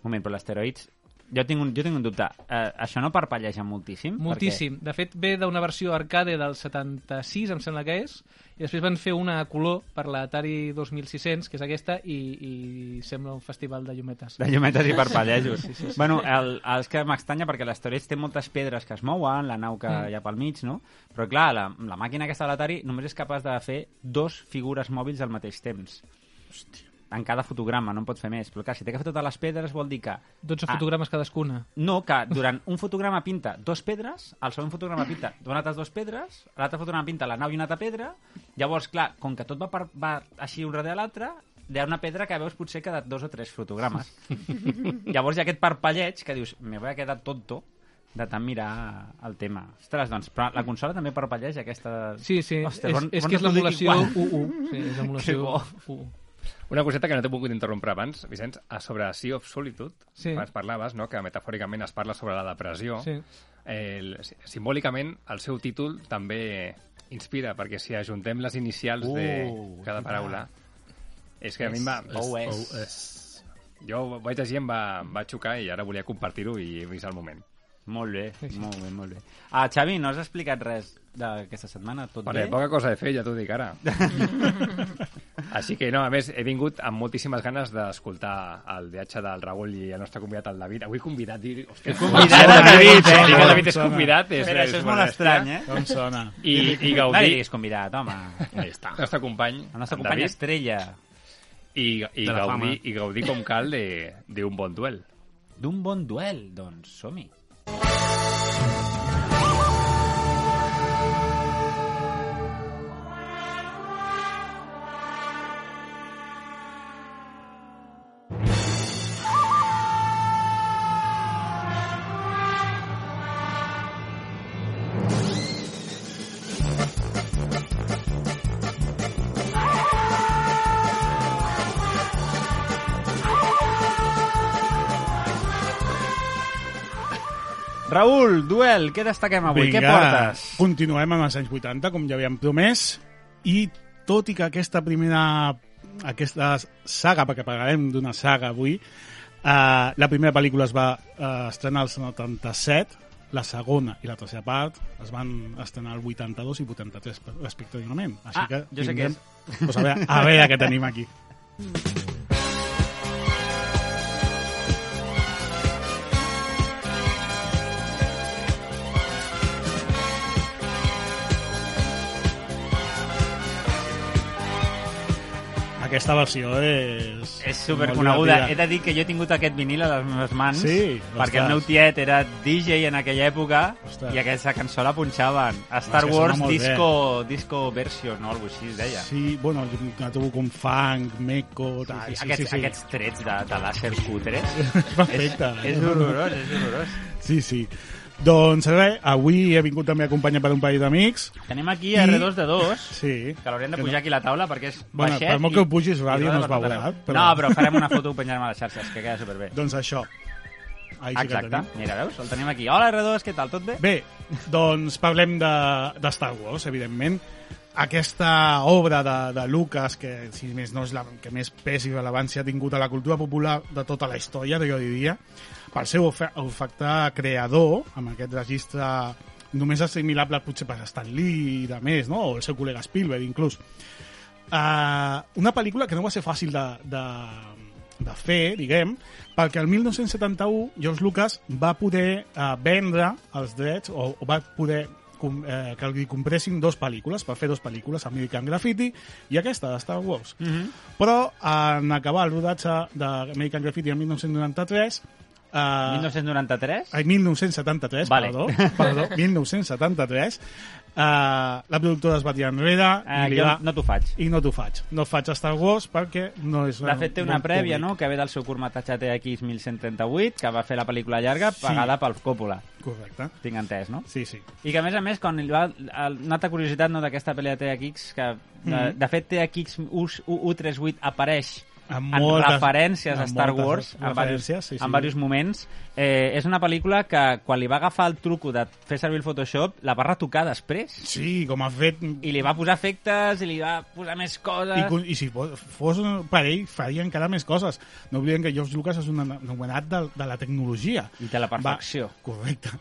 Un moment, però l'asteroids... Jo tinc un, jo tinc un dubte. Eh, això no parpelleja moltíssim?
Moltíssim. De fet, ve d'una versió arcade del 76, em sembla que és, i després van fer una a color per l'Atari 2600, que és aquesta, i, i sembla un festival de llumetes.
De llumetes i parpellejos. Sí, sí, sí. Bueno, el, el- és que m'extanya perquè l'asteroids té moltes pedres que es mouen, la nau que
Mm.
mm. hi ha pel mig, no? Però clar, la, la màquina aquesta de l'Atari només és capaç de fer dos figures mòbils al mateix temps. Hòstia. En cada fotograma, no en pots fer més. Però clar, si té que fer totes les pedres vol dir que...
12
Ah.
fotogrames cadascuna.
No, que durant un fotograma pinta dos pedres, el segon fotograma pinta donates dos pedres, l'altre fotograma pinta la nau i una altra pedra, llavors, clar, com que tot va, per, va així un darrere l'altre, hi ha una pedra que veus potser que de dos o tres fotogrames. Llavors hi ha aquest parpelleig que dius, me voy a quedar tonto de tant mirar el tema. Ostres, doncs, però la consola també parpelleja aquesta...
Sí, sí,
Hòstia,
és,
bon-
és
bon
que és
reproduir
l'emulació
igual.
U1. Sí, és
Que
l'emulació
bo.
U1.
Una coseta que no t'he pogut interrompre abans, Vicenç, a sobre Sea of Solitude,
Sí.
abans parlaves, no?, que metafòricament es parla sobre la depressió.
Sí.
Eh, El, si- simbòlicament, el seu títol també inspira, perquè si ajuntem les inicials de cada paraula... És que a mi em va...
OS.
eh.
Jo ho vaig llegir, em va, em va xocar i ara volia compartir-ho i he vist el moment.
Molt bé, molt bé, molt bé. Ah, Xavi, no has explicat res d'aquesta setmana? Tot
Perquè
bé?
poca cosa he fet, ja t'ho dic ara. Així que, no, a més, he vingut amb moltíssimes ganes d'escoltar el viatge del Raül i el nostre convidat, el David. Avui convidat, dir... Hòstia,
Convidat
el
a David, eh?
Dic que el
Convidat.
David és convidat. És,
Espera, això és molt estrany, eh?
Com sona?
I, i
No li
Gaudí,
diguis convidat, home.
Ahí está.
el nostre company,
El nostre
en
company
David,
estrella.
i, i,
De la fama.
gaudir, i gaudir com cal de- d'un bon duel.
D'un bon duel, doncs som-hi. Raül, duel, què destaquem avui? Què portes?
Continuem amb els anys 80, com ja havíem promès, i tot i que aquesta primera aquesta saga, perquè parlarem d'una saga avui, eh, la primera pel·lícula es va eh, estrenar al 77, la segona i la tercera part es van estrenar al 82 i 83 respectivament. Així
Ah,
que
jo sé què és.
Pues a, veure, a veure què tenim aquí. Aquesta versió és...
És
molt
superconeguda.
divertida.
He de dir que jo he tingut aquest vinil a les meves mans
Sí,
perquè
ostres.
el meu tiet era DJ en aquella època
Ostres.
i aquesta cançó la punxaven. A Star
que sona
Wars
molt bé.
disco, disco version o alguna cosa així es deia. Sí,
Sí, bueno, la trobo com funk, meco,
sí,
tal, sí, sí,
aquests,
sí, sí.
aquests trets de, de làser cutres.
Perfecte.
és horrorós, és horrorós.
Sí, sí. Doncs res, avui he vingut també acompanyat per un parell d'amics.
Tenim aquí
I-
a R2D2
Sí.
que l'haurem de
Que no-
pujar aquí a la taula perquè és
Bueno,
baixet.
per molt que ho pugis, ràdio
roda
no es
per
veurà,
tot arreu.
però-
No, però farem una foto i ho penjarem a les xarxes, que queda superbé.
Doncs això. Ahí sí que
Exacte,
tenim.
mira, veus? El tenim aquí. Hola, R2, què tal? Tot bé?
Bé, doncs parlem de, de Star Wars, evidentment. Aquesta obra de, de Lucas, que si més no és la que més pes i rellevància ha tingut a la cultura popular de tota la història, jo diria, pel seu ofe- olfacte creador, amb aquest registre només assimilable potser per Stan Lee i de més, no? o el seu col·lega Spielberg, inclús. Uh, una pel·lícula que no va ser fàcil de, de, de fer, diguem, perquè el 1971 George Lucas va poder uh, vendre els drets o, o va poder com, eh, que li compressin dos pel·lícules, per fer dos pel·lícules, American Graffiti i aquesta, de Star Wars. Mm
Mhm.
-hmm. Però en acabar el rodatge d'American Graffiti en 1993... Uh,
1993?
Ai, 1973,
Vale.
perdó, perdó, 1973, uh, la productora es va tirar enrere
Eh,
i li
jo
va
no t'ho faig.
i no t'ho faig. No faig Star Wars perquè no és...
De fet, té una
bon
prèvia, no?,
públic.
que ve del seu curtmetratge TX 1138, que va fer la pel·lícula llarga pagada pel Coppola.
Correcte.
Tinc entès, no?
Sí, sí.
I que, a més a més, quan li va... el- Una altra curiositat, no?, d'aquesta pel·li de THX, que, de,
Mhm.
de fet, THX U138 apareix
Amb
en
moltes-
referències a
amb
Star
moltes
Wars en
referències,
diversos,
sí, sí.
en diversos moments eh, és una pel·lícula que quan li va agafar el truco de fer servir el Photoshop la va retocar després
Sí, com ha fet... I,
i li va posar efectes i li va posar més coses
I, con- i si fos- fos per ell, faria encara més coses. No oblidem que George Lucas és un anomenat de, de la tecnologia.
I de la perfecció.
Va, correcte.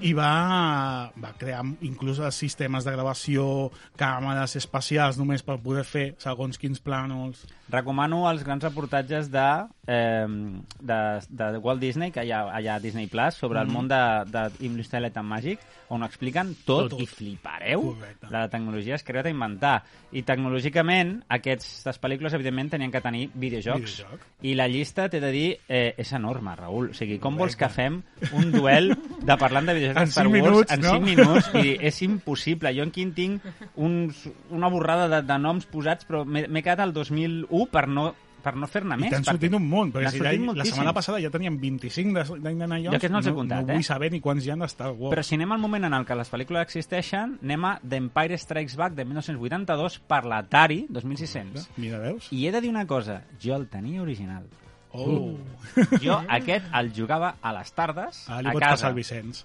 I va, va crear inclús els sistemes de gravació, càmeres espacials només per poder fer segons quins plànols.
Recomano els grans reportatges de, eh, de, de Walt Disney, que hi ha, hi ha a Disney Plus, sobre
Mm-hmm.
el món de, de Industrialet en Màgic, on ho expliquen tot,
Tot.
i flipareu.
Correcte.
La tecnologia es crea a inventar. I tecnològicament, aquestes pel·lícules, evidentment, tenien que tenir videojocs.
Videojoc.
I la llista, t'he de dir, eh, és enorme, Raül. O sigui, com vols que fem un duel de parlant de videojocs
En
de Star
cinc
Wars
minuts,
en
no?
5 minuts? Vull dir, és impossible. Jo en Quim tinc uns, una borrada de, de noms posats, però m'he m'he quedat al 2001 per no, per no fer-ne
I
més.
t'han sortit un munt, perquè
N'han
si
sortit
la, la
moltíssims.
setmana passada ja teníem 25 de- d'Indiana Jones,
Jo aquests no els he comptat,
no
eh?
vull saber ni quants hi han de Star Wars.
Però si anem al moment en el que les pel·lícules existeixen, anem a The Empire Strikes Back de 1982 per l'Atari 2600.
Mira, veus?
I he de dir una cosa, jo el tenia original. Uh.
Oh.
Jo aquest el jugava a les tardes,
Ah, li
a
pot
casa.
passar al Vicenç.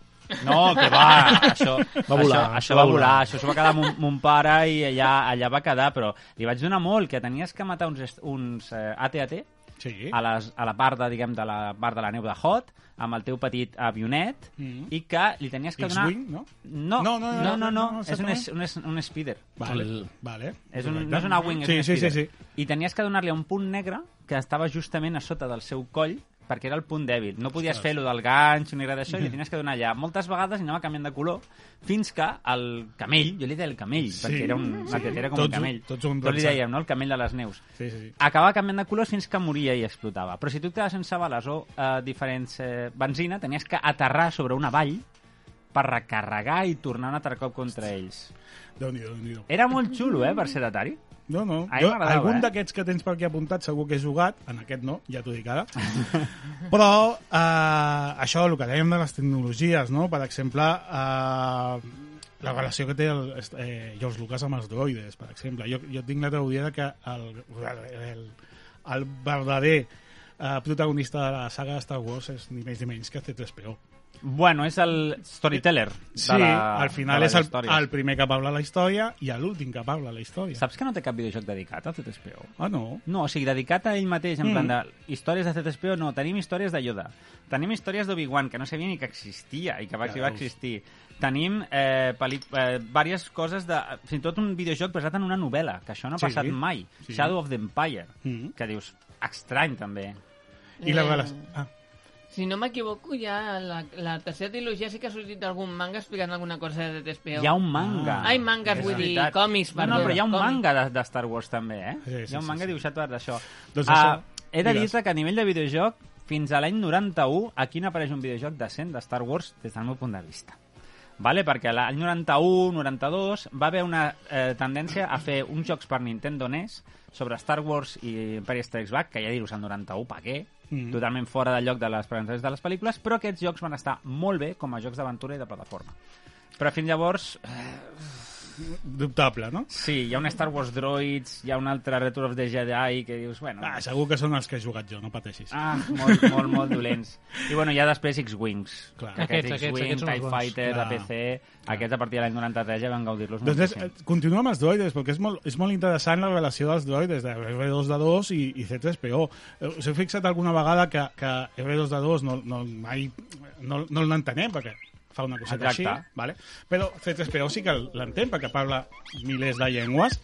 No, que va, això va volar, això, això va,
volar.
volar, això s'ho va quedar mon, mon pare i allà, allà va quedar, però li vaig donar molt, que tenies que matar uns, est- uns eh, AT-AT
Sí.
a, les, a la part de, diguem, de la part de la neu de Hot, amb el teu petit avionet,
Mhm.
i que li tenies que donar...
X-Wing, no?
Mm. No, no, no, no, no, no, és un,
exactament.
es, un, es, un speeder.
Vale,
El-
vale.
És un,
Correcte.
no és una wing, és
sí,
un
sí, sí,
speeder.
sí.
I tenies que donar-li un punt negre que estava justament a sota del seu coll perquè era el punt dèbil. No podies fer lo del ganxo ni res d'això i li tenies que donar allà. Moltes vegades anava canviant de color fins que el camell, jo li deia el camell,
Sí,
perquè era un,
sí.
sí. era com
Tots
un camell.
ho- tots ho hem
li
pensat.
dèiem, no? El camell de les neus.
Sí, sí, sí.
Acabava canviant de colors fins que moria i explotava. Però si tu et quedaves sense bales o eh, diferents eh, benzina, tenies que aterrar sobre una vall per recarregar i tornar un altre cop contra ells.
Déu-n'hi-do, déu
Era molt xulo, eh, per ser Atari.
No, no.
A mi
Jo,
m'agradava,
algun
eh?
d'aquests que tens per aquí apuntat segur que he jugat, en aquest no, ja t'ho dic ara. Però eh, això, el que dèiem de les tecnologies, no? per exemple, eh, la relació que té el, eh, George Lucas amb els droides, per exemple. Jo, jo tinc la teoria de que el, el, el verdader eh, protagonista de la saga de Star Wars és ni més ni menys que C-3PO.
Bueno, és el storyteller.
Sí,
de la,
al final
de les
és el,
històries.
el primer que parla la història i l'últim que parla la història.
Saps que no té cap videojoc dedicat a C3PO?
Ah, no?
No, o sigui, dedicat a ell mateix, en mm. plan de històries de C3PO, no, tenim històries de Yoda. Tenim històries d'Obi-Wan, que no sabia ni que existia i que va,
Ja
ja, va
veus.
existir. Tenim eh, peli... eh, diverses coses, de... fins i tot un videojoc basat en una novel·la, que això no ha
Sí,
passat mai.
sí.
Shadow of the Empire,
Mm.
que dius, estrany també.
I la
Eh,
relació... Ah.
Si no m'equivoco, ja la, la tercera trilogia sí que ha sortit algun manga explicant alguna cosa de Despeo.
Hi ha un manga.
Ah. Ai, mangas, vull dir,
Veritat.
còmics,
No, no,
perdó,
però hi ha un
còmics.
manga de, de Star Wars també, eh?
Sí, sí,
hi ha un
sí,
manga
sí.
dibuixat per d'això.
Doncs això,
Ah, he de
digues.
dir-te que a nivell de videojoc, fins a l'any 91, aquí no apareix un videojoc decent de Star Wars des del meu punt de vista. Vale? Perquè l'any 91, 92, va haver una eh, tendència a fer uns jocs per Nintendo NES sobre Star Wars i Empire Strikes Back, que ja dir-ho al 91, pa què? Mm.
Mhm.
Totalment fora de lloc de les presentacions de les pel·lícules, però aquests jocs van estar molt bé com a jocs d'aventura i de plataforma. Però fins llavors, eh,
Dubtable, no?
Sí, hi ha un Star Wars Droids, hi ha un altre Return of the Jedi que dius, bueno...
Ah, segur que són els que he jugat jo, no pateixis.
Ah, molt, molt, molt dolents. I bueno, hi ha després X-Wings.
Clar.
que Aquests,
Aquests,
aquests,
aquests, aquests
X-Wing,
són els
TIE
bons.
Fighters,
Clar.
APC... Aquests a partir de l'any 93 ja van gaudir-los
Doncs és,
moltíssim.
continuem amb els droides, perquè és molt, és molt interessant la relació dels droides, de R2-D2 i, i C-3PO. Eh, Us heu fixat alguna vegada que, que R2-D2 no, no, mai, no, no l'entenem, perquè fa una coseta
Exacte.
així, vale? però C-3PO sí que l'entén, perquè parla milers de llengües.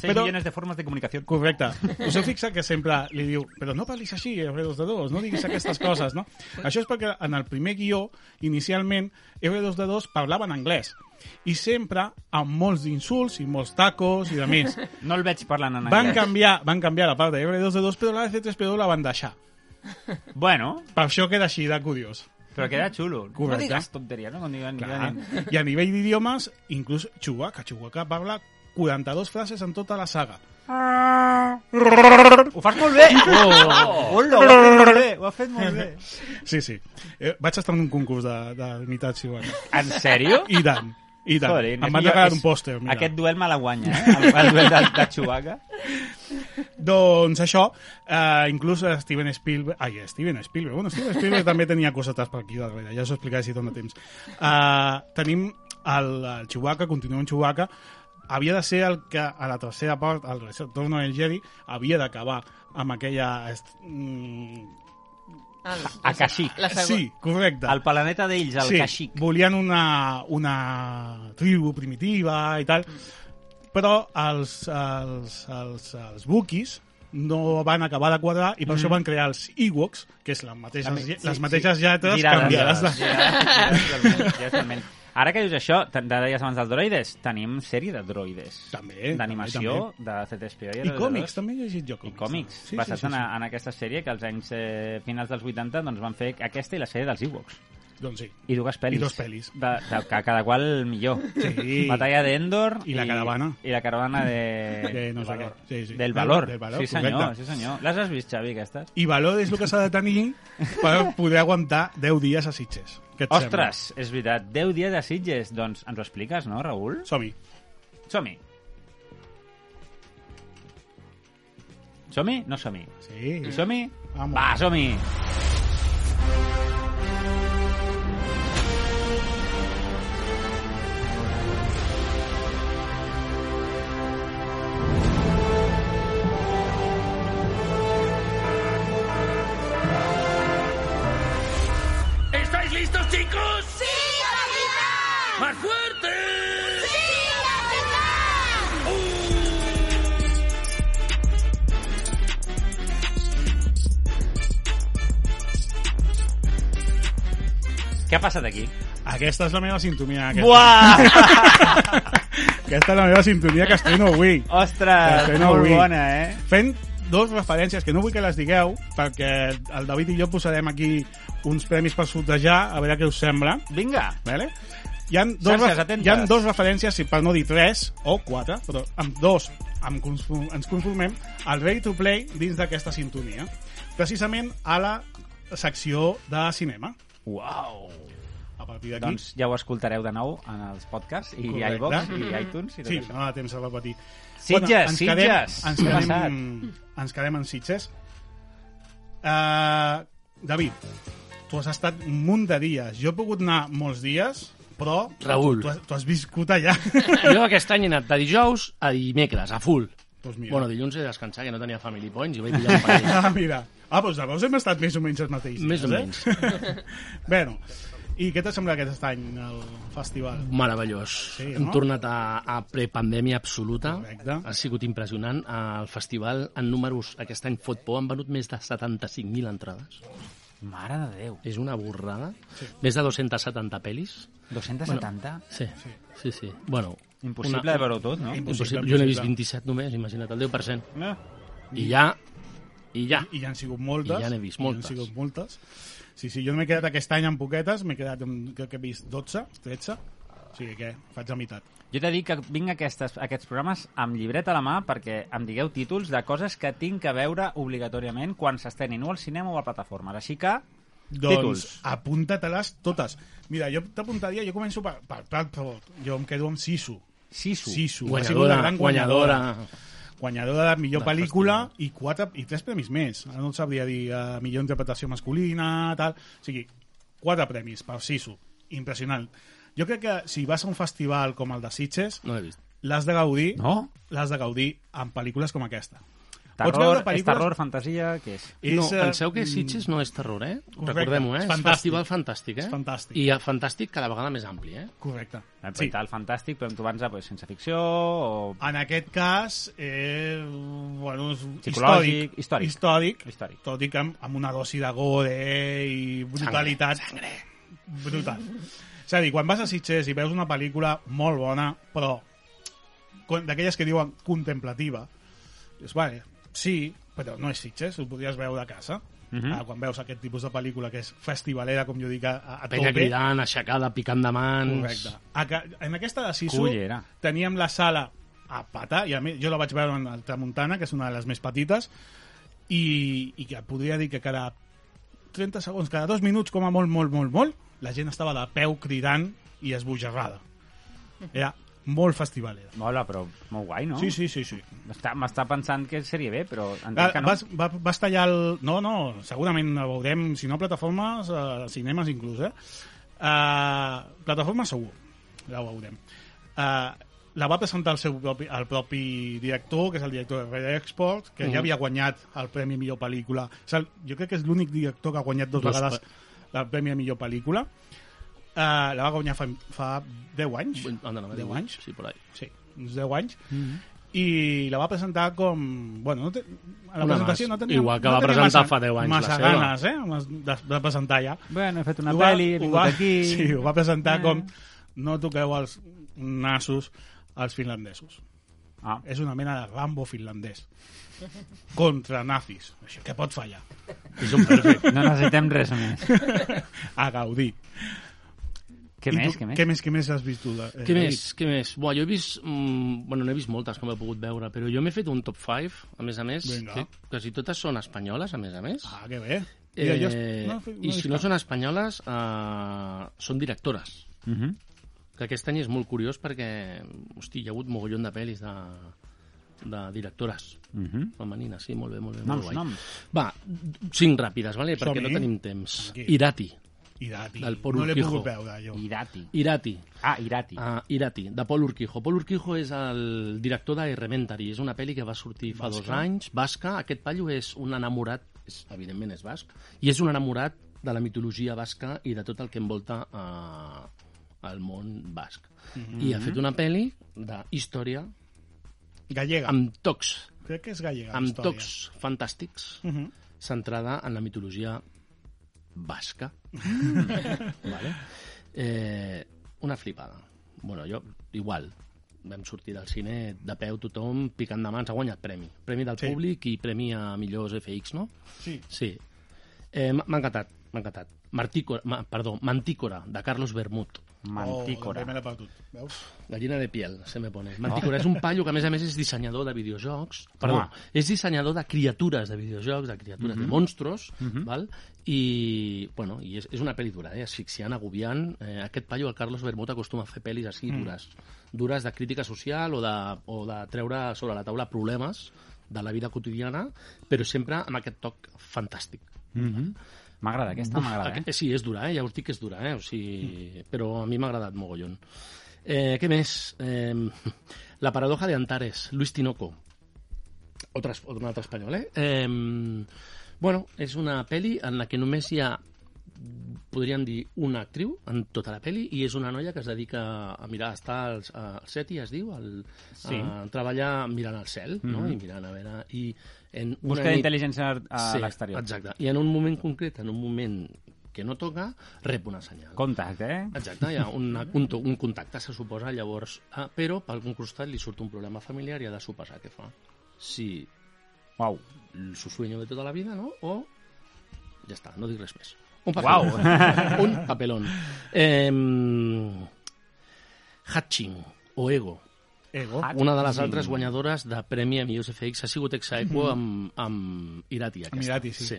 6
però...
milions de formes de comunicació.
Correcte. Us heu fixat que sempre li diu però no parlis així, R2-D2, no diguis aquestes coses, no? Això és perquè en el primer guió, inicialment, R2-D2 parlava en anglès. I sempre amb molts insults i molts tacos i de més.
No el veig parlant en
Van
anglès.
canviar, van canviar la part de R2-D2, però la de C-3PO la van deixar.
Bueno,
Per això queda així de curiós.
però queda xulo. No
Correcte.
digues tonteries, no? Quan diguen,
Clar.
diguen...
I a nivell d'idiomes, inclús Chewbacca. Chewbacca parla 42 frases en tota la saga.
Ho fas molt bé! Oh, hola, ho has fet molt bé! Ho has fet molt bé!
Sí, sí. Eh, vaig estar en un concurs de, de imitat Chewbacca.
En sèrio?
I tant, i tant.
Joder,
em van
jo-
regalar
és-
un pòster, mira.
Aquest duel me la guanya, eh? El, el duel de, de Chewbacca.
Doncs això, eh, inclús Steven Spielberg... Ai, Steven Spielberg. Bueno, Steven Spielberg també tenia cosetes per aquí darrere, ja us ho explicaré si dona temps. Eh, tenim el, el Chewbacca, continua amb Chewbacca, havia de ser el que a la tercera part, al retorn del Jedi, havia d'acabar amb aquella... est- Mm,
Ah,
A Kashyyyk.
la segona.
sí, correcte.
El planeta d'ells, el sí. Kashyyyk.
volien una, una tribu primitiva i tal, però els, els, els, els buquis no van acabar de quadrar i per mm. això van crear els Ewoks, que és la mateixa,
També, sí,
sí, les
sí.
mateixes sí. lletres canviades. De...
girades, girades, totalment. Ara que dius això, te- de deies abans dels droides, tenim sèrie de droides.
També,
D'animació, de C3PO i
I
R2D2.
còmics, també he llegit
I
jo còmics.
còmics, sí, basats sí, sí, sí. En, en aquesta sèrie que als anys eh, finals dels 80 doncs, van fer aquesta i la sèrie dels Ewoks.
Doncs sí.
I dues pel·lis.
I dos pel·lis.
De, de, que cada qual millor.
Sí.
Batalla d'Endor.
I la caravana.
I la caravana de...
De no sé
valor.
què. Sí, sí.
Del valor.
Del valor,
sí, senyor,
correcte.
sí, senyor. Les has vist, Xavi, aquestes?
I valor és el que s'ha de tenir per poder aguantar 10 dies a Sitges. Què et sembla?
Ostres, és veritat, 10 dies de Sitges. Doncs ens ho expliques, no, Raül?
Som-hi.
Som-hi. Som-hi? No som-hi.
Sí.
I som-hi?
Vamos.
Va, som-hi!
¿Estáis listos, chicos? ¡Sí, capitán! ¡Más fuerte! ¡Sí, capitán!
Què ha passat aquí?
Aquesta és la meva sintonia. Aquesta,
Buah!
aquesta és la meva sintonia que estreno avui.
Ostres,
Estreno
molt
avui.
bona, eh?
Fent dos referències que no vull que les digueu, perquè el David i jo posarem aquí uns premis per sortejar, a veure què us sembla.
Vinga.
Vale? Hi ha, dos,
Xarxes,
ref-
atentes.
hi ha dos referències, si per no dir tres o quatre, però amb dos em conform, ens conformem al Ready to Play dins d'aquesta sintonia. Precisament a la secció de cinema.
Uau!
A partir d'aquí...
Doncs ja ho escoltareu de nou en els podcasts i
Correcte.
iVox i iTunes i tot
Sí, ah,
això.
no dona temps a repetir.
Sitges,
ens
Sitges.
Quedem, ens,
Què ha
quedem, ens quedem en Sitges. Uh, David, tu has estat un munt de dies. Jo he pogut anar molts dies, però
Raül.
tu, has, tu has viscut allà.
Jo aquest any he anat de dijous a dimecres, a full.
doncs mira.
Bueno, dilluns he de descansar, que no tenia family points i vaig pillar un parell.
ah, mira. Ah, doncs llavors hem estat més o menys els mateixos.
Més o menys.
Eh? bueno, i què t'ha semblat aquest any el festival?
Meravellós.
Sí,
Sí,
no?
Hem tornat a, a prepandèmia absoluta.
Correcte.
Ha sigut impressionant. El festival, en números, aquest any fot por, han venut més de 75.000 entrades.
Mare de Déu.
És una borrada. Sí. Més de 270 pel·lis.
270?
Sí, sí, sí. sí. Bueno,
Impossible
una-
de veure-ho tot, no?
Impossible,
Impossible,
jo n'he vist
impossible. Eh?
27 només, imagina't, el 10%.
No.
I ja, i ja.
I ja han sigut moltes.
I ja n'he vist moltes.
I han sigut moltes. Sí, sí, jo m'he quedat aquest any amb poquetes, m'he quedat, amb, crec que he vist 12, 13, o sigui que faig la meitat.
Jo t'he dit que vinc a aquestes, a aquests programes amb llibret a la mà perquè em digueu títols de coses que tinc a veure obligatòriament quan s'estenin o al cinema o a plataformes. Així que...
Doncs
Títols.
apunta-te-les totes. Mira, jo t'apuntaria, jo començo per, per, per, per, jo em quedo amb Sisu.
Sisu.
Sisu. ha sigut
Guanyadora,
una gran
guanyadora.
guanyadora de millor
Del
pel·lícula i, quatre, i tres premis més. Ara no et sabria dir eh, millor interpretació masculina, tal... O sigui, quatre premis per Sisu. Impressionant. Jo crec que si vas a un festival com el de Sitges,
No l'he vist.
l'has de gaudir
No?
l'has de gaudir amb pel·lícules com aquesta. Pots
Terror,
veure
és
pel·lícules-
terror, fantasia, què és?
És, no,
eh,
penseu que
mm,
Sitges no és terror, eh?
Correcte,
Recordem-ho, eh?
és
És
fantàstic.
un festival fantàstic, eh?
És fantàstic.
I eh, fantàstic cada vegada més ampli, eh?
Correcte.
Sí. El fantàstic, podem trobar-nos pues, sense ficció o
En aquest cas, eh, bueno, és
Psicològic,
històric,
històric.
històric,
Històric.
tot i que amb, amb una dosi de gore i brutalitat. Sangre, Brutal. És a dir, quan vas a Sitges i veus una pel·lícula molt bona, però con- d'aquelles que diuen contemplativa, dius, vale, sí, però no és Sitges, ho podries veure a casa. Uh
Mhm.
-huh. quan veus aquest tipus de pel·lícula que és festivalera, com jo dic, a, a
Penya
tope,
cridant, aixecada, picant de mans...
Correcte. A, ca- en aquesta de Sisu
Cullera.
teníem la sala a pata, i a més, jo la vaig veure en el Tramuntana, que és una de les més petites, i, i que podria dir que cada 30 segons, cada dos minuts, com a molt, molt, molt, molt, la gent estava de peu cridant i esbojarrada. Era molt festivalera.
Mola, però molt guai, no?
Sí, sí, sí, sí.
M'està m'està pensant que seria bé, però
Va,
entenc que no.
vas, va, vas tallar el... No, no, segurament la veurem, si no a plataformes, a cinemes inclús, eh? Uh, plataforma segur, la veurem. Uh, la va presentar el seu propi, el propi director, que és el director de Red Export, que
Mm.
ja havia guanyat el Premi Millor Pel·lícula. O sigui, jo crec que és l'únic director que ha guanyat dos,
Dos
vegades el Premi de Millor Pel·lícula. Uh, la va guanyar fa, fa 10 anys.
Anda, no,
10 anys? Eh,
Sí, por ahí.
sí, uns 10 anys,
Mm-hmm.
i la va presentar com... Bueno, no te, a la
Una
presentació
más.
no tenia...
Igual que
no
va
tenia
presentar
massa-
fa 10 anys la
Massa
seva.
ganes, eh? mas- De, de presentar ja.
Bueno, he fet una
Ho va-
pel·li, he
ho
vingut
va-
aquí...
Sí, ho va presentar
Eh.
com no toqueu els nassos als finlandesos.
Ah,
És una mena de Rambo finlandès. Contra nazis. Això que pot fallar.
És un perfecte.
no necessitem res més.
A gaudir.
Què
I
més,
tu,
què més?
Què més, què més has vist tu? eh,
Què
David?
més? Què més? Buah, jo he vist... Mm, bueno, n'he vist moltes, com he pogut veure, però jo m'he fet un top 5, a més a més,
Vinga.
que quasi totes són espanyoles, a més a més.
Ah, que bé. Mira,
Eh,
jo-
I si no
he vist cap.
són espanyoles, eh, són directores.
Uh -huh.
Que aquest any és molt curiós perquè, hosti, hi ha hagut mogollon de pel·lis de, de directores
Uh -huh.
femenines, sí, molt bé, molt bé.
Noms,
molt guai.
noms.
Va, cinc ràpides, vale? perquè
Som-hi.
no tenim temps.
Aquí.
Irati.
I Dati.
del Pol
No l'he
Urquijo.
pogut veure, jo.
Irati.
Irati.
Ah, Irati. Ah.
Uh, Irati, de Paul Urquijo. Paul Urquijo és el director de Elementary. És una pel·li que va sortir fa dos anys, basca. Aquest paio és un enamorat, és, evidentment és basc, i és un enamorat de la mitologia basca i de tot el que envolta uh, el món basc. I ha fet una pel·li d'història
Gallega.
amb tocs,
Crec que és gallega. la
amb
història.
tocs fantàstics,
Mhm.
centrada en la mitologia vasca.
Mm.
vale? eh, una flipada. Bueno, jo, igual, vam sortir del cine de peu tothom picant de mans, ha guanyat premi. Premi del
Sí.
sí. públic i premi a millors FX, no?
Sí.
Sí. Eh, m- m'ha encantat, m'ha encantat. Martícora, ma, perdó, Mantícora, de Carlos Bermud.
Oh, la
Mantícora.
primera per tu. Veus?
Gallina de piel, se me pone. Mantícora és un paio que, a més a més, és dissenyador de videojocs. Perdó,
Home.
és dissenyador de criatures de videojocs, de criatures de monstros, val? i, bueno, i és, és una pel·li dura, eh? asfixiant, agobiant. Eh, aquest paio, el Carlos Bermut, acostuma a fer pel·lis així dures. Dures de crítica social o de, o de treure sobre la taula problemes de la vida quotidiana, però sempre amb aquest toc fantàstic.
Mhm. M'agrada, aquesta m'agrada, eh?
Aquest- Sí, és dura, eh? ja us dic que és dura, eh? o sigui... però a mi m'ha agradat mogollon. Eh, què més? Eh, la paradoja de Antares, Luis Tinoco. Otra, es- un altre espanyol, eh? eh? Bueno, és una peli en la que només hi ha podríem dir una actriu en tota la peli i és una noia que es dedica a mirar, està al, al SETI, es diu, al,
Sí.
a treballar mirant al cel, mm -hmm. no?
Mhm.
I mirant a veure... I en una
Busca
nit-
d'intel·ligència a- a l'exterior.
Exacte. I en un moment concret, en un moment que no toca, rep una senyal.
Contacte, eh?
Exacte, hi ha un, un, to- un contacte, se suposa, llavors... Ah, però pel costat li surt un problema familiar i ha de suposar què fa. Si
Uau.
el su sueño de tota la vida, no? O ja està, no dic res més. Un
Uau.
papelón. un papelón. Eh, Hatching, o Ego,
Ego.
una de les altres guanyadores de Premi a Millors FX ha sigut Exaequo amb, amb Irati. Aquesta.
Irati, Mhm. sí.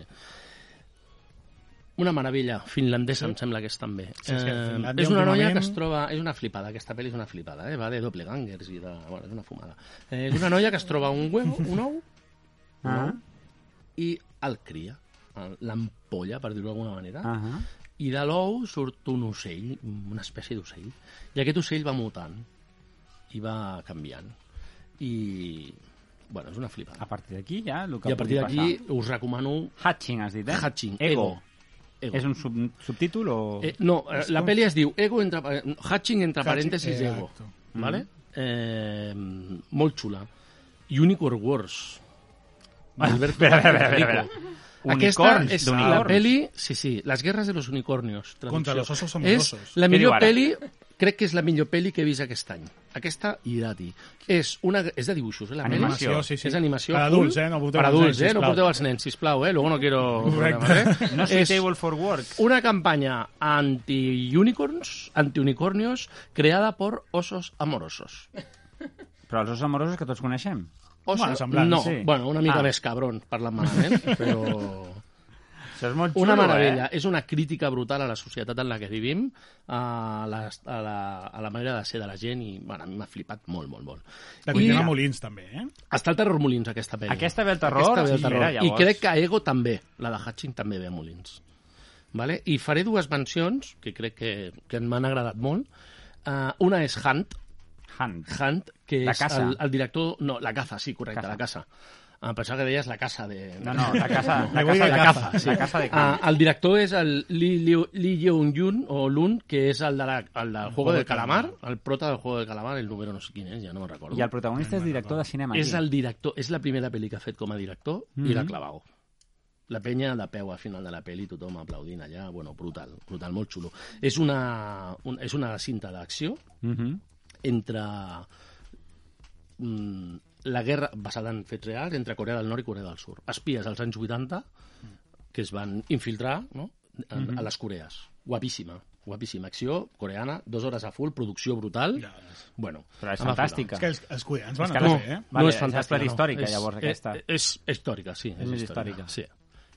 Una meravella finlandesa, em sembla que és també. Eh,
Sí, és que Finlàndia
és una noia
últimament-
que es troba... És una flipada, aquesta pel·li és una flipada, eh? va de doppelgangers i de... Bueno, és una fumada. Eh, és una noia que es troba un huevo, un ou, un
Ah.
ou i el cria, el- l'ampolla, per dir-ho d'alguna manera,
Ah.
Uh -huh.
i de l'ou surt un ocell, una espècie d'ocell, i aquest ocell va mutant i va canviant. I, bueno, és una
A
flipada.
partir d'aquí ja, el Ah, que
I a partir
pugui
d'aquí
passar.
us recomano
Hatching, has dit, eh?
Hatching,
Ego.
Ego.
És un sub subtítol o...
Eh, no, eh, la peli es diu Ego entre, pa- Hatching entre
Hatching,
parèntesis
exacto.
Ego. Vale?
Mm.
Eh, molt xula. Unicorn Wars. Albert
espera, espera, espera, espera.
Aquesta
Unicorns,
és la
d'unicorns.
peli... Sí, sí, Les guerres de los unicornios. traducció.
Contra los osos
És
amorosos.
la
Què diu
millor
ara?
peli... Crec que és la millor peli que he vist aquest any. Aquesta i Dati. És, una, és de dibuixos, eh, la peli?
Animació.
sí, sí.
És animació.
Per
full.
adults, eh? No porteu
per
als
adults,
nens,
eh? No
sisplau.
porteu els nens, sisplau, eh? Luego no quiero...
Correcte.
problemes, eh?
No
és
suitable for work.
una campaña anti-unicorns, anti-unicornios, creada por osos amorosos.
Però els os amorosos que tots coneixem.
Osos,
Bueno, semblant,
no,
sí.
bueno, una mica
Ah.
més cabron, parlant malament, però...
Això és molt xulo,
Una meravella.
Eh?
És una crítica brutal a la societat en la que vivim, a la, a la, a la manera de ser de la gent, i bueno, a mi m'ha flipat molt, molt, molt.
La
I
Tatiana Molins, també, eh?
està el Terror Molins, aquesta pel·li.
Aquesta ve al Terror? Ah,
Aquesta ve al
Sí,
terror.
mira, llavors.
I crec que Ego també, la de Hatching també ve a Molins. Vale? I faré dues mencions, que crec que, que m'han agradat molt. Uh, una és Hunt,
Hunt.
Hunt, que
La
és
caça.
el, el director... No, La Caza, sí, correcte,
Caza.
La Caza. Em pensava que deies La Caza de...
No, no, la casa, la
voy
casa
de
de
caza.
caza. La casa de caza.
Ah, el director és el Lee, Liu- Lee Yeung-yun, o Lun, que és el, de la, el del Juego del Calamar, el prota del Juego del Calamar, el número no sé quin és, ja no me'n recordo.
I el protagonista és director de cinema.
És
aquí.
el director, és la primera pel·li que ha fet com a director i
Mhm.
la clavau. La penya de peu al final de la pel·li, tothom aplaudint allà, bueno, brutal, brutal, molt xulo. És una, un, és una cinta d'acció
Mhm.
entre mm, la guerra basada en fets reals entre Corea del Nord i Corea del Sud. Espies als anys 80 que es van infiltrar no? a,
Mhm.
a les Corees. Guapíssima, guapíssima. Acció coreana, dues hores a full, producció brutal. Bueno,
Però és
em va flipar.
fantàstica.
És que els, els coreans van
que
a
la-
la eh?
Vale,
no
és
és fantàstica.
prehistòrica,
no.
llavors,
és, eh,
aquesta.
És, és històrica, sí. És,
més històrica.
Sí.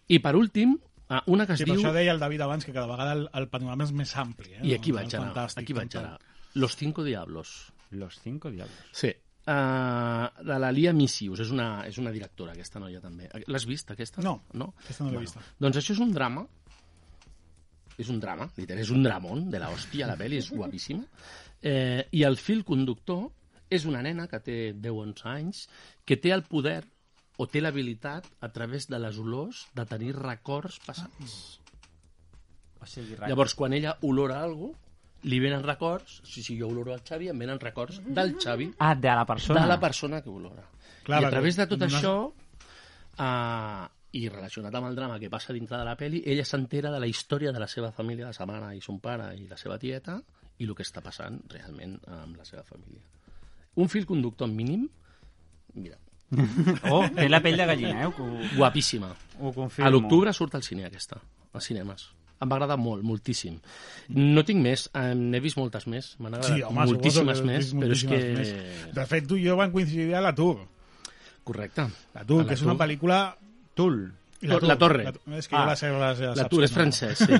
I per últim, eh, una que es
Sí, per
diu...
això deia el David abans que cada vegada el, el panorama és més ampli. Eh?
I aquí
No,
vaig
és
anar,
fantàstic,
aquí vaig anar.
fantàstic.
Los Cinco Diablos.
Los cinco diablos.
Sí. Uh, de la Lia Missius, és una, és una directora, aquesta noia també. L'has vist, aquesta?
No,
no?
aquesta no l'he vista.
Doncs això és un drama, és un drama, literal, és un dramón de la hòstia, la pel·li és guapíssima. Eh, I el fil conductor és una nena que té 10-11 anys que té el poder o té l'habilitat a través de les olors de tenir records passats.
O sigui,
Llavors, quan ella olora alguna li venen records, si, si jo oloro al Xavi, em venen records del Xavi
Ah, de la persona.
de la persona que olora.
Clar,
Clar, I a
perquè
través de tot
no-
això, eh, i relacionat amb el drama que passa dintre de la peli, ella s'entera de la història de la seva família, de sa mare i son pare i la seva tieta, i el que està passant realment amb la seva família. Un fil conductor mínim, mira,
Oh, té la pell de gallina, eh? Ho,
guapíssima.
ho confirmo.
A l'octubre surt al cine aquesta, als cinemes. Em va agradar molt, moltíssim. No tinc més, eh, n'he vist moltes més, m'han agradat
Sí, home,
moltíssimes
suposo que
més,
tens
però és que...
moltíssimes més. De fet, tu i jo vam coincidir a la Tour.
Correcte.
La Tour,
A
que és una pel·lícula...
Tul.
La Torre.
és que ah.
Ah.
jo la sé, la, la,
La Tour és francès, sí.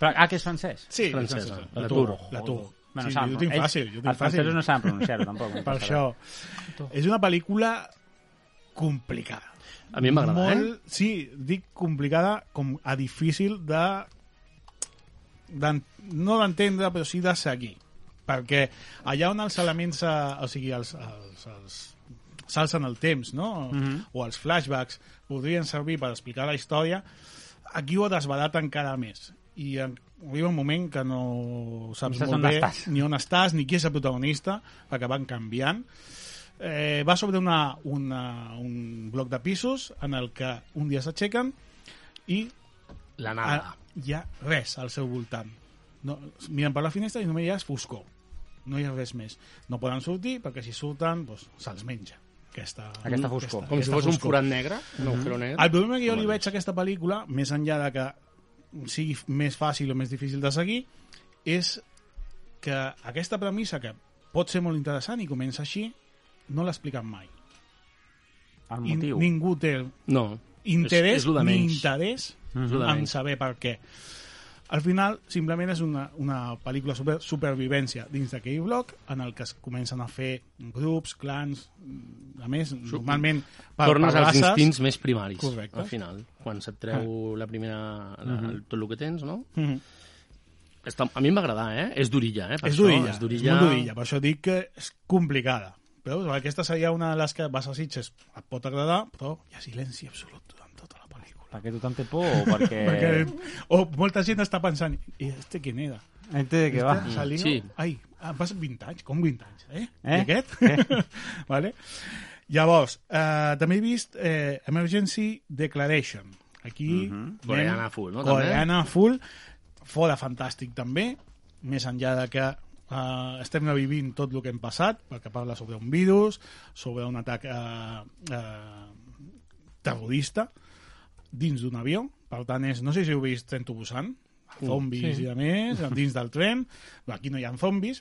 Però, ah, que és francès?
Sí,
francesa.
és francesa.
La
La
Tour.
Tour. La Tour.
Bueno,
sí,
saben-
jo tinc
ells-
fàcil, jo tinc
Els francesos
fàcil.
no saben pronunciar-ho, tampoc.
Per això. És una pel·lícula complicada.
A mi m'agrada, eh?
Molt, sí, dic complicada com a difícil de... de no d'entendre, però sí de seguir. Perquè allà on els elements, eh, o sigui, els, els, els s'alcen el temps, no?
Mhm.
O els flashbacks podrien servir per explicar la història, aquí ho ha desvelat encara més. I en, arriba un moment que no
No
saps
saps
molt
on
bé
estàs.
ni on estàs, ni qui és el protagonista, perquè van canviant eh, va sobre una, una, un bloc de pisos en el que un dia s'aixequen i
La nada.
a, hi ha res al seu voltant. No, miren per la finestra i només hi ha foscor. No hi ha res més. No poden sortir perquè si surten doncs, se'ls menja. Aquesta,
Aquesta foscor.
Com si
aquesta
fos un
foscor. Mm-hmm.
forat negre, un agujero negre.
El problema que jo li veig a aquesta pel·lícula, més enllà de que sigui més fàcil o més difícil de seguir, és que aquesta premissa, que pot ser molt interessant i comença així, no l'expliquen mai.
El
I
motiu.
ningú té
No,
interès
És- és lo de
ni
menys.
interès
és lo de
en
menys.
saber per què. Al final, simplement és una, una pel·lícula super, supervivència dins d'aquell bloc en el que es comencen a fer grups, clans, mm, a més, normalment per,
Tornes
per
als
races.
instints més primaris,
Correcte. Ah. Mm-hmm.
al final. Quan se't treu la primera... La, tot el que tens, no?
Mhm.
Està, a mi m'agrada, eh? És durilla, eh? Per
És
això,
durilla,
És
és,
durilla.
molt durilla, per això dic que és complicada. Però aquesta seria una de les que vas a Sitges, et pot agradar, però hi ha silenci absolut durant tota la pel·lícula.
Perquè tothom té por o perquè...
Eh.
Perquè, o molta gent està pensant, i este quin era?
Este de què va?
Este salió...
Sí.
Ai, em passen 20 anys, com 20 anys, eh?
Eh?
I aquest? vale? Llavors, eh, també he vist eh, Emergency Declaration. Aquí...
Mhm.
anem-
Coreana full, no, també?
Coreana full, fora fantàstic també, més enllà de que eh, estem revivint tot el que hem passat, perquè parla sobre un virus, sobre un atac eh, eh, terrorista, dins d'un avió. Per tant, és, no sé si heu vist Tren to Busan, zombis
sí.
i a més, dins del tren. Però aquí no hi ha zombis,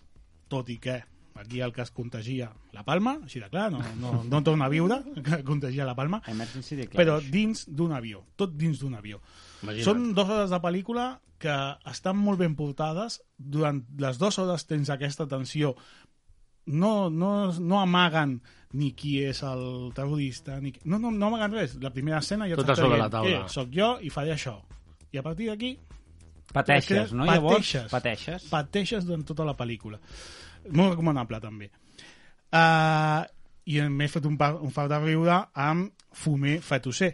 tot i que aquí el que es contagia la palma, així de clar, no, no, no torna a viure, que contagia la palma,
Emergency Declaration.
però dins d'un avió, tot dins d'un avió.
Imagina't.
Són dues hores de pel·lícula que estan molt ben portades. Durant les dues hores tens aquesta tensió. No, no, no amaguen ni qui és el terrorista, ni... qui- No, no, no amaguen res. La primera escena ja
Tot
t'està
a sobre
dient,
la taula.
"Eh, soc jo i faré això. I a partir d'aquí
Pateixes, no?
Pateixes.
Llavors, pateixes.
pateixes durant tota la pel·lícula. Molt recomanable, també. Uh, I m'he fet un, par, un fart de riure amb Fumé Fetosser,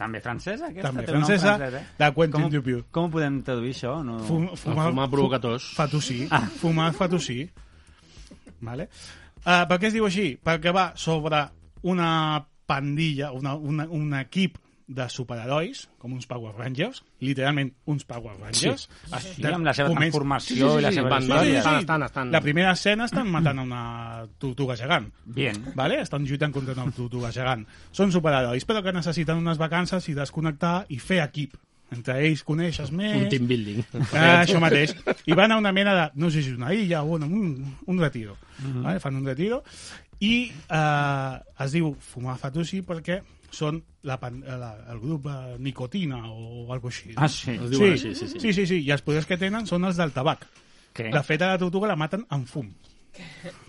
També francesa, aquesta?
també
Té un nom
francesa,
francès, eh?
de Quentin
Com,
Dupieux.
com ho podem traduir, això? No...
Fum,
Fumar, fumar provocadors.
Fatossí. Ah. Fumar fatossí. Vale. Uh, per què es diu així? Perquè va sobre una pandilla, una, una, un equip de superherois, com uns Power Rangers, literalment uns Power Rangers. Sí,
Sí, amb la seva transformació i la
sí,
seva
van-
Sí, sí,
història.
sí.
Estan- estan- estan-
La primera escena estan matant a una tortuga gegant.
Bien.
Vale? Estan lluitant contra una tortuga gegant. Són superherois, però que necessiten unes vacances i desconnectar i fer equip. Entre ells coneixes més...
Un team building.
Ah, això mateix. I van a una mena de, no sé si és una illa o bueno, un, un retiro. Mm
Mhm.
-hmm. vale? Fan un retiro i eh, es diu fumar fatussi perquè són la, pan- la, el grup eh, nicotina o alguna així.
Ah, sí.
Es diuen així, sí, sí.
sí, sí, sí. I els poders que tenen són els del tabac.
Què?
De fet, a la tortuga la maten amb fum.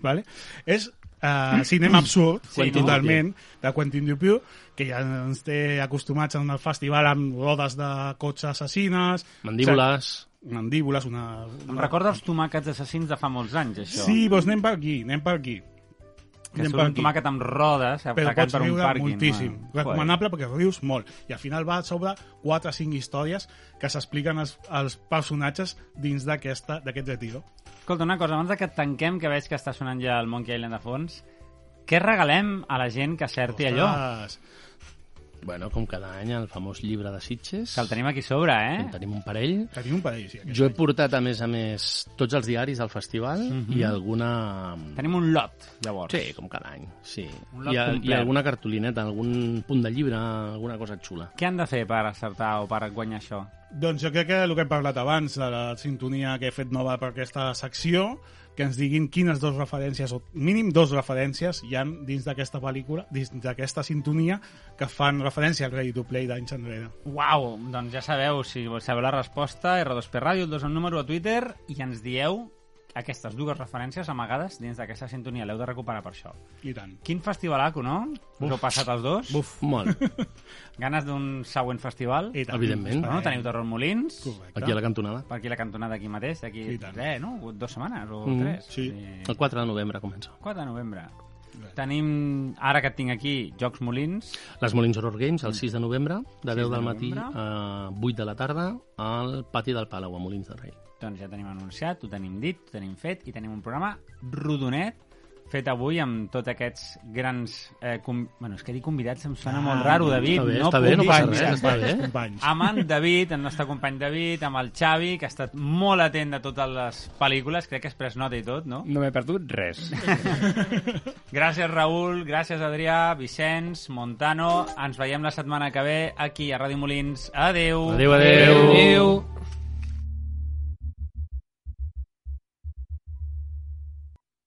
Vale? És uh, cinema absurd, sí,
no?
totalment, de Quentin Dupieux, que ja ens té acostumats en el festival amb rodes de cotxes assassines...
Mandíbules.
O sigui, mandíbules, una...
Em recorda els tomàquets assassins de fa molts anys, això.
Sí, doncs anem per aquí, anem per aquí.
que surt un tomàquet amb rodes,
però
atacat
pots
per un
riure
pàrquing. eh?
moltíssim.
va.
Recomanable perquè rius molt. I al final va sobre 4 o 5 històries que s'expliquen als, als personatges dins d'aquesta- d'aquest retiro.
Joder. Escolta, una cosa, abans de que tanquem, que veig que està sonant ja el Monkey Island de fons, què regalem a la gent que acerti allò?
Ostres.
Bueno, com cada any, el famós llibre de Sitges.
Que el tenim aquí a sobre,
En
eh?
tenim un parell.
Tenim un parell, sí. aquest.
Jo he portat, a més a més, tots els diaris al festival
Mm-hmm.
i alguna...
Tenim un lot, llavors.
Sí, com cada any, sí.
Un lot
I, a, I
complet.
alguna cartolineta, algun punt de llibre, alguna cosa xula.
Què han de fer per acertar o per guanyar això?
Doncs jo crec que el que hem parlat abans, de la sintonia que he fet nova per aquesta secció, que ens diguin quines dues referències, o mínim dues referències, hi han dins d'aquesta pel·lícula, dins d'aquesta sintonia, que fan referència al Ready to Play d'anys enrere.
Uau, doncs ja sabeu, si vols saber la resposta, R2P Ràdio, el dos en número a Twitter, i ens dieu aquestes dues referències amagades dins d'aquesta sintonia. L'heu de recuperar per això.
I tant.
Quin festivalaco, no? Us heu passat els dos?
Buf, molt.
Ganes d'un següent festival?
I tant.
Evidentment.
Però no teniu Terror Molins?
Correcte.
Aquí a la cantonada.
Per aquí la cantonada, aquí mateix, d'aquí
I tant.
eh, no? dues setmanes o
Mm,
tres.
sí.
Eh,
El 4 de novembre comença.
4 de novembre.
Bé.
Tenim, ara que et tinc aquí, Jocs Molins,
Les Molins Horror Games, el 6 de novembre, de 10
de
del matí
novembre.
a 8 de la tarda, al pati del Palau, a Molins de Rei.
doncs ja tenim anunciat, ho tenim dit, ho tenim fet, i tenim un programa rodonet fet avui amb tots aquests grans... Eh, com... Bueno, és que dir convidats em sona molt raro, David.
Ah, Està bé,
no
està bé, no passa
puc dir-
res, està bé. eh?
Companys.
amb en David, el nostre company David, amb el Xavi, que ha estat molt atent de totes les pel·lícules, crec que has pres nota i tot, no?
No m'he perdut res.
Gràcies, Raül, gràcies, Adrià, Vicenç, Montano. Ens veiem la setmana que ve aquí a Ràdio Molins. Adeu!
Adéu, adéu.
Adéu.